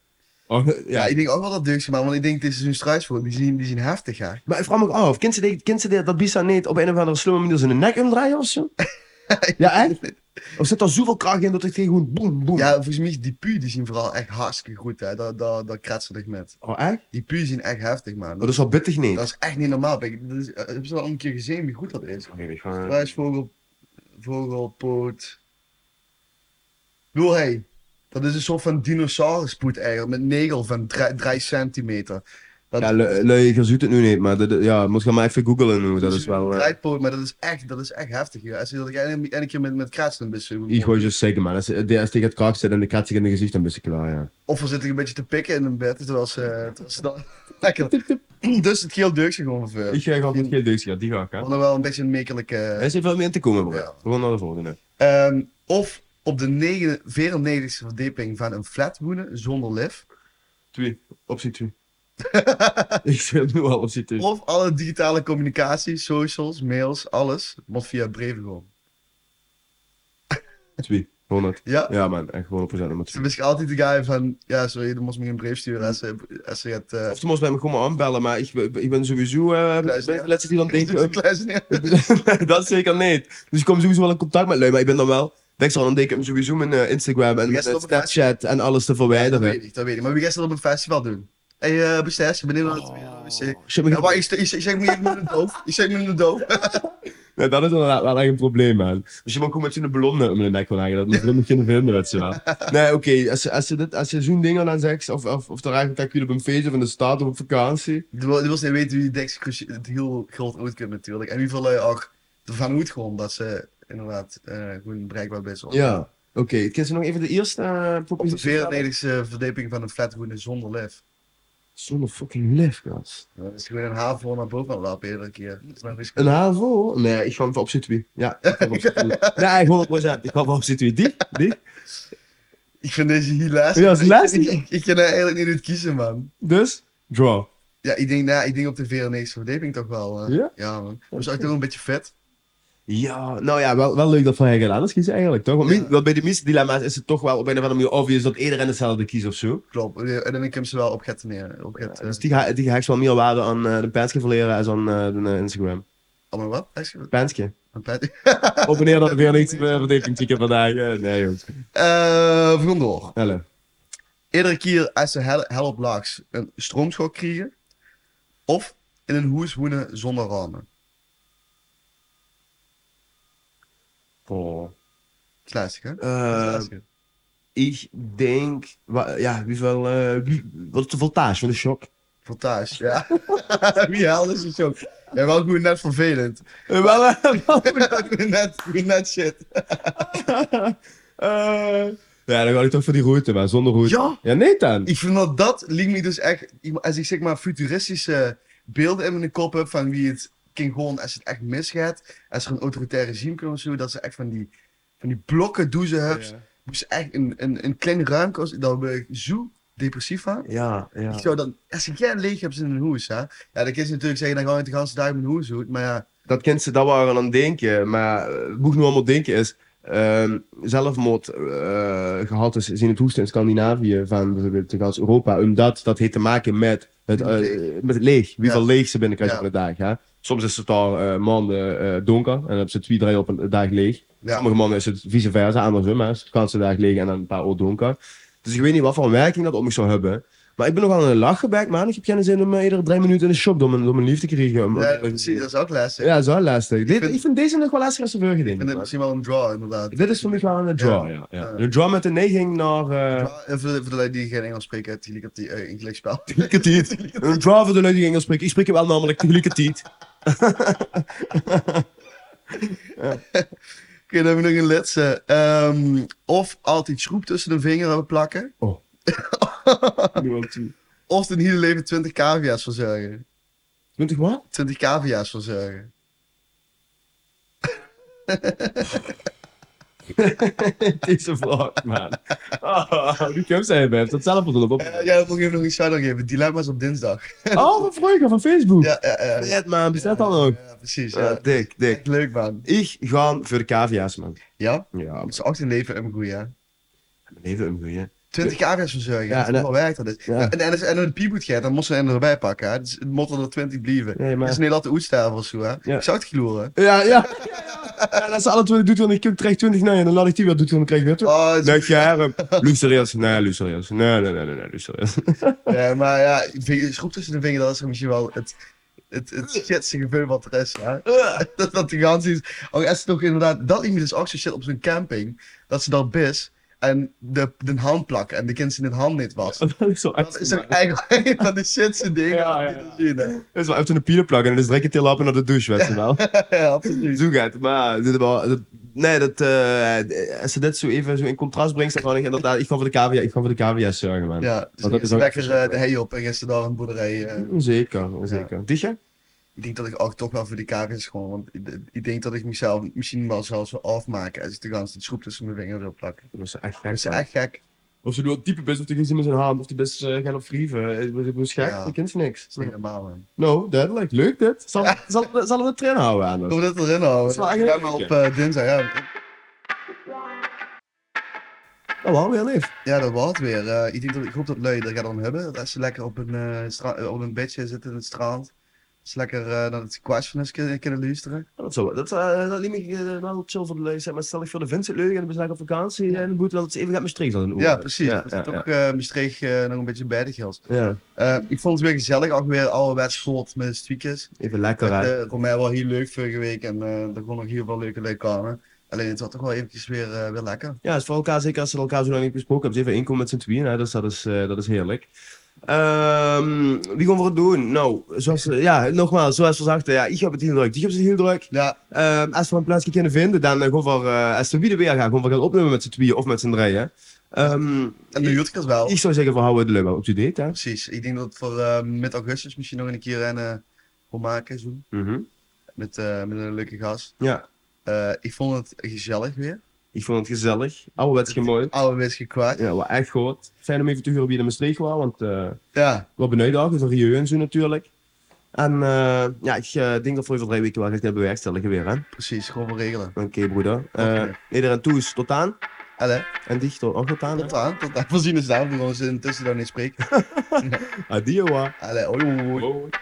Speaker 2: Oh,
Speaker 1: Ja,
Speaker 2: ja.
Speaker 1: ik denk ook wel dat deugdje, maar want ik denk, dit is een struisvogel, die zien, die zien heftig, hè.
Speaker 2: Maar ik vraag me ook af, kent ze, die- kent ze die- dat bisa niet op een of andere slimme manier zijn nek omdraaien of zo? ja, echt? Of zit er zoveel kracht in dat het tegen gewoon boem, boem?
Speaker 1: Ja, volgens mij is die pu, die zien vooral echt hartstikke goed, hè. Dat, dat, dat kretsen ik met.
Speaker 2: Oh, echt?
Speaker 1: Die pu zien echt heftig, man.
Speaker 2: Oh, dat is wel bittig niet.
Speaker 1: Dat is echt niet normaal. Ik dat is- eh, heb ze al een keer gezien wie goed dat is. Struisvogel, vogelpoot. Doe hij. Dat is een soort van dinosauruspoet eigenlijk, met negel van 3 centimeter. Dat
Speaker 2: Ja, le- leuk, je ziet het nu niet, maar dat, ja, moet je maar even googlen hoe, dat is wel... eh,
Speaker 1: Draaipoot, maar dat is echt, dat is echt heftig. joh. Als je dat en een keer met, met kratsen een beetje.
Speaker 2: Ik gooi je zeker, man. Als de- als tegen het kraak zit en de kat zich in de gezicht, dan ben je klaar, ja.
Speaker 1: Of we zitten een beetje te pikken in een bed, terwijl ze, terwijl ze dan... Lekker. Dus het geel deugdje gewoon ver.
Speaker 2: Ik ga altijd geen deus, ja, die ga ik, hè.
Speaker 1: We hadden wel een beetje een mekelijke...
Speaker 2: Er is hier veel meer in te komen, bro.
Speaker 1: Ja.
Speaker 2: We gaan naar de volgende.
Speaker 1: Ehm, of op de negen- 94e verdieping van een flat wonen zonder lift.
Speaker 2: Twee. Optie twee. ik zit nu al optie twee.
Speaker 1: Of alle digitale communicatie, socials, mails, alles, moet via brieven gewoon.
Speaker 2: Twee. 100.
Speaker 1: Ja.
Speaker 2: Ja, man. Echt 100% nummer
Speaker 1: Toen
Speaker 2: twee.
Speaker 1: wist ik altijd de guy van, ja sorry, dan moest me geen brief sturen als ze, als ze het... eh,
Speaker 2: Of ze moest bij me gewoon maar aanbellen, maar ik, ik ben sowieso... eh
Speaker 1: Luister, ja.
Speaker 2: Let's die dan denken...
Speaker 1: een klein sneer.
Speaker 2: dat zeker niet. Dus ik kom sowieso wel in contact met lui, maar ik ben dan wel. Denk zo aan, denk ik hem sowieso mijn eh, Instagram en
Speaker 1: Wie
Speaker 2: mijn
Speaker 1: is er op het
Speaker 2: Snapchat en alles te
Speaker 1: Dat
Speaker 2: verwijderen.
Speaker 1: weet ik, dat weet ik. Maar wie gaat dat op een festival doen? Oh. Hé, hey, bestes, ben je naar het wc?
Speaker 2: Shit, maar
Speaker 1: Ja,
Speaker 2: ik-
Speaker 1: maar ik, ik, ik zeg me even in de doof. Ik zeg me in de doof.
Speaker 2: Nee, dat is inderdaad wel echt een probleem, man. Dus je moet ook met zo'n ballon om de nek van hangen. Dat moet nog geen vinden, weet je wel. Nee, oké. Als, je- als je, dit- als je zo'n ding dan zegt, of, of, of dan eigenlijk dat je op een feestje of in de stad of op vakantie.
Speaker 1: Je wil je wil niet weten wie Dex Cruci- het heel groot ooit kunt natuurlijk. En wie veel lui ook ervan uit gewoon dat ze inderdaad eh gewoon bereikbaar best wel.
Speaker 2: Ja. Oké, ken ze nog even de eerste eh,
Speaker 1: Op de
Speaker 2: propositie?
Speaker 1: 94e verdieping van een flat wonen zonder lef.
Speaker 2: Zonder fucking lef, gast.
Speaker 1: Dat is gewoon een haven naar boven aan lappen iedere keer. Dat is nog eens-
Speaker 2: Een HAVO? Nee, ik ga voor optie 2. Ja, ik ga voor optie 2. Nee, 100%. Ik ga voor optie 2. Die? Die?
Speaker 1: Ik vind deze hier lastig.
Speaker 2: Ja, dat is lastig.
Speaker 1: Ik, ik, ik kan er eigenlijk niet uit kiezen, man.
Speaker 2: Dus? Draw.
Speaker 1: Ja, ik denk, nou, ik denk op de 94e verdieping toch wel. eh.
Speaker 2: Ja?
Speaker 1: man. Dat is ook toch een beetje vet.
Speaker 2: Ja, nou ja, wel, wel leuk dat Van Heijgen gedaan is kiezen eigenlijk, toch? Want
Speaker 1: Ja.
Speaker 2: mi- want bij de meeste dilemma's is het toch wel op een of andere manier obvious dat iedereen hetzelfde kiest of zo.
Speaker 1: Klopt. Eh, En dan kan ik ze wel op het neer. Op eh, het,
Speaker 2: Dus die, ga- die ga ik wel meer waarde aan eh, de Penske verleren als aan eh, de eh, Instagram.
Speaker 1: Allemaal wat? Echt?
Speaker 2: Penske.
Speaker 1: Een Eh, pet.
Speaker 2: Op wanneer dat er weer niks eh, verdediging tikken vandaag. eh, nee, jongens.
Speaker 1: Eh, we gaan door.
Speaker 2: Hallo.
Speaker 1: Iedere keer als ze hel, hel op laags een stroomschok krijgen. Of in een hoes wonen zonder ramen.
Speaker 2: Oh.
Speaker 1: Dat is lastig, hè? Dat is
Speaker 2: Eh,
Speaker 1: lastig.
Speaker 2: ik denk, wa- ja, hoeveel, eh, wie- wat is de voltage van de shock?
Speaker 1: Voltage, ja. Wie hel is het zo? Ja, wel goed net vervelend.
Speaker 2: Eh, wel, eh, wel.
Speaker 1: Goed net, goed net shit.
Speaker 2: Eh, ja, dan ga ik toch voor die route, maar zonder route.
Speaker 1: Ja?
Speaker 2: Ja, nee dan.
Speaker 1: Ik vind dat dat liet me dus echt... Als ik zeg maar futuristische beelden in mijn kop heb van wie het kan gewoon als het echt misgaat. Als er een autoritair regime komt of zo. Dat ze echt van die, van die blokken douzen hebben. moest Dus echt een, een, een klein ruimte, als- daar ben ik zo depressief van.
Speaker 2: Ja, ja.
Speaker 1: Ik zou dan, als je geen leeg hebt in een hoes, hè, ja, dan kun je natuurlijk zeggen, dan gaan we de hele dag met een hoes uit, maar ja,
Speaker 2: dat kinderen dat waren aan denken. Maar eh, hoe ik nu allemaal denken is. ehm, zelfmoord eh gehad is is in het hoesten in Scandinavië van bijvoorbeeld de gans Europa. Omdat dat heeft te maken met het, eh, met het leeg. Wie
Speaker 1: Ja.
Speaker 2: van leeg ze binnenkrijgen
Speaker 1: Ja.
Speaker 2: op een dag. Hè? Soms is het daar eh, maanden eh, donker en dan hebben ze twee, drie op een dag leeg.
Speaker 1: ja.
Speaker 2: Sommige mannen is het vice versa, andersom. Hè? Ze kan ze dag leeg en dan een paar uur donker. Dus ik weet niet wat voor werking dat op me zou hebben. Maar ik ben nogal aan het lachen bij man. Ik heb geen zin om eh, iedere drie minuten in de shop door mijn, door mijn lief te krijgen. Om-
Speaker 1: Ja, precies, dat is ook lastig.
Speaker 2: Ja, dat is wel lastig. Dit-
Speaker 1: vind-
Speaker 2: Ik vind deze nog wel lastiger als de vorige,
Speaker 1: Ik
Speaker 2: denk ik,
Speaker 1: vind het
Speaker 2: man.
Speaker 1: misschien wel een draw, inderdaad.
Speaker 2: Dit is voor mij wel een draw, ja. ja. Een draw met een neiging naar... eh,
Speaker 1: Draw, eh, voor de voor de lui die geen Engels spreken, die op die eh, intellectueel.
Speaker 2: Tegelijkertijd. Een draw voor de lui die Engels spreken. Ik spreek hem wel namelijk tegelijkertijd.
Speaker 1: Oké, dan hebben we nog een laatste. Ehm, of altijd schroep tussen de vinger hebben plakken. Of het hele leven 20 cavia's verzorgen.
Speaker 2: Doet ik wat?
Speaker 1: 20 cavia's verzorgen.
Speaker 2: Deze vlog, man. Oh, die kunt zijn, Beb. Dat zelf bedoel op.
Speaker 1: Eh, ja, dat moet ik even nog iets verder geven. Dilemma's op dinsdag.
Speaker 2: Oh, van vroeger, van Facebook.
Speaker 1: Ja, ja, ja.
Speaker 2: Red, man. Bestaat dat nog?
Speaker 1: Ja, precies.
Speaker 2: Ja,
Speaker 1: Ja.
Speaker 2: dik, dik.
Speaker 1: Echt leuk, man.
Speaker 2: Ik ga voor de cavia's, man.
Speaker 1: Ja?
Speaker 2: Ja,
Speaker 1: Het is ook een leven een goeie, hè?
Speaker 2: mijn leven een goeie.
Speaker 1: 20 cavia's verzorgen.
Speaker 2: Ja,
Speaker 1: Ja,
Speaker 2: en
Speaker 1: dat is
Speaker 2: dat-
Speaker 1: wel werkt dat. is.
Speaker 2: Ja.
Speaker 1: En, en, en een pieboet gaat, dan moest ze een erbij pakken. Hè? Dus het moet er 20 blijven.
Speaker 2: Nee, maar-
Speaker 1: Dat is een hele oetstafel of zo, hè?
Speaker 2: Ja.
Speaker 1: Ik zou het gloren.
Speaker 2: Ja, ja. ja, ja. En als ze alle twee doet, dan krijg ik 20 nee. En dan laat ik die weer doen, dan krijg ik weer 20.
Speaker 1: Oh, het is-
Speaker 2: Nee, jaren. Luxerieus. Nee, luxerieus. Nee, nee, nee, nee, nee, luxerieus.
Speaker 1: Ja, Eh, maar ja, ving- schroep tussen de vinger, dat is misschien wel het, het, het
Speaker 2: Eh.
Speaker 1: shitste gebeurt wat er is. Hè? Dat, dat de gans is. Ook als het ook inderdaad, dat iemand is ook zo shit op zo'n camping, dat ze daar bis en de, de hand plakken en de kind zijn in hand niet was.
Speaker 2: Dat is zo
Speaker 1: Dat is toch eigenlijk een van de shitste dingen
Speaker 2: Oh, Ja,
Speaker 1: die
Speaker 2: ja, ja.
Speaker 1: te zien hè?
Speaker 2: Dat is wel even een pielen plakken en dan druk je til op naar de douche, weet je wel.
Speaker 1: Ja, absoluut.
Speaker 2: Zo gaat het, maar dit wel, dat- nee, dat, eh, als ze dit zo even zo in contrast brengt, dan kan ik inderdaad, ik ga voor de KVA, ik ga voor de KVA zorgen, man.
Speaker 1: Ja, dus
Speaker 2: Want dat is
Speaker 1: eerst
Speaker 2: ook-
Speaker 1: lekker eh, de hei op en gisteren daar een boerderij. eh.
Speaker 2: Onzeker, onzeker. Dichtje?
Speaker 1: ik denk dat ik ook toch wel voor die kaartjes gewoon, want ik, ik denk dat ik mezelf misschien wel zelfs wil afmaken als ik de gans die schroep tussen mijn vinger wil plakken.
Speaker 2: Dat is echt gek.
Speaker 1: Dat is echt gek.
Speaker 2: Of ze doet type best, of die gezien met zijn hand, of die best eh, gaan op vrieven. Dat is gek,
Speaker 1: Ja.
Speaker 2: die kent ze niks.
Speaker 1: Dat is niet normaal, man.
Speaker 2: Nou, duidelijk, leuk dit. Zal, zal, zal, het een train houden aan
Speaker 1: Kom dit erin houden.
Speaker 2: Dat is wel
Speaker 1: Ik ben
Speaker 2: eigenlijk
Speaker 1: maar op
Speaker 2: leuk,
Speaker 1: eh, dinsdag, ja.
Speaker 2: Nou, wel weer lief.
Speaker 1: Ja, dat was het weer. Eh, ik, denk dat, ik hoop dat lui dat gaan dan hebben. Dat ze lekker op een, eh, stra- eh, op een bedje zitten in het strand. Dat ze lekker eh, naar het questioners kunnen, kunnen luisteren.
Speaker 2: Dat, zou, dat, eh dat liet me eh, wel chill voor de lezen, maar stel ik voor de Vincent leuk en we zijn op vakantie eh, en de boete dat het even gaat met streek zal doen.
Speaker 1: Ja, precies.
Speaker 2: Ja,
Speaker 1: dat
Speaker 2: ja,
Speaker 1: is
Speaker 2: ja.
Speaker 1: toch eh Maastricht eh, nog een beetje bij de geld.
Speaker 2: Ja,
Speaker 1: Eh, ik vond het weer gezellig, ook weer ouderwets schot met de tweakers.
Speaker 2: even
Speaker 1: Ik
Speaker 2: lekker
Speaker 1: vond
Speaker 2: uit.
Speaker 1: het eh, mij wel heel leuk vorige week en eh er kon nog heel veel leuke leuk komen. Alleen het was toch wel eventjes weer, eh, weer lekker.
Speaker 2: Ja, is voor elkaar, zeker als ze elkaar zo lang niet gesproken hebben. Ze even inkomen met z'n tweeën, hè, dus dat is, eh, dat is heerlijk. Ehm, wie gaan we het doen? Nou, zoals, ja, nogmaals, zoals we zagen, ja, ik heb het heel druk, die heb het heel druk.
Speaker 1: Ja,
Speaker 2: Ehm, als we een plaatsje kunnen vinden, dan eh, gewoon voor, eh, als we wie er weer gaan, gewoon we gaan opnemen met z'n tweeën of met z'n drieën. Ehm,
Speaker 1: en de Jutkers wel.
Speaker 2: ik zou zeggen, we houden het leuk op de date, hè.
Speaker 1: Precies. Ik denk dat het voor eh, mid-augustus misschien nog een keer een eh voor maken zo.
Speaker 2: Mhm.
Speaker 1: Met, eh, met een leuke gast.
Speaker 2: Ja,
Speaker 1: Eh, ik vond het gezellig weer.
Speaker 2: ik vond het gezellig. Ouderwets mooi.
Speaker 1: Ouderwets gekwaad.
Speaker 2: Oh, Ja, wat echt goed. Fijn om even te huren bij de Maastricht wel, want... eh,
Speaker 1: Ja,
Speaker 2: wat beneden van Rieu en zo natuurlijk. En eh, ja, ik eh, denk dat we over drie weken wel echt hebben bewerkstelligen weer, hè? Oké,
Speaker 1: precies. Gewoon voor regelen.
Speaker 2: broeder. Eh
Speaker 1: Oké.
Speaker 2: Iedereen toe is tot aan.
Speaker 1: Allee,
Speaker 2: En dicht ook tot aan. hè?
Speaker 1: tot aan. Tot aan. Voorzien is daar. We gaan ze intussen dan niet spreken.
Speaker 2: Adio. hè.
Speaker 1: Allee, oei, oei, oei.
Speaker 2: Hoi.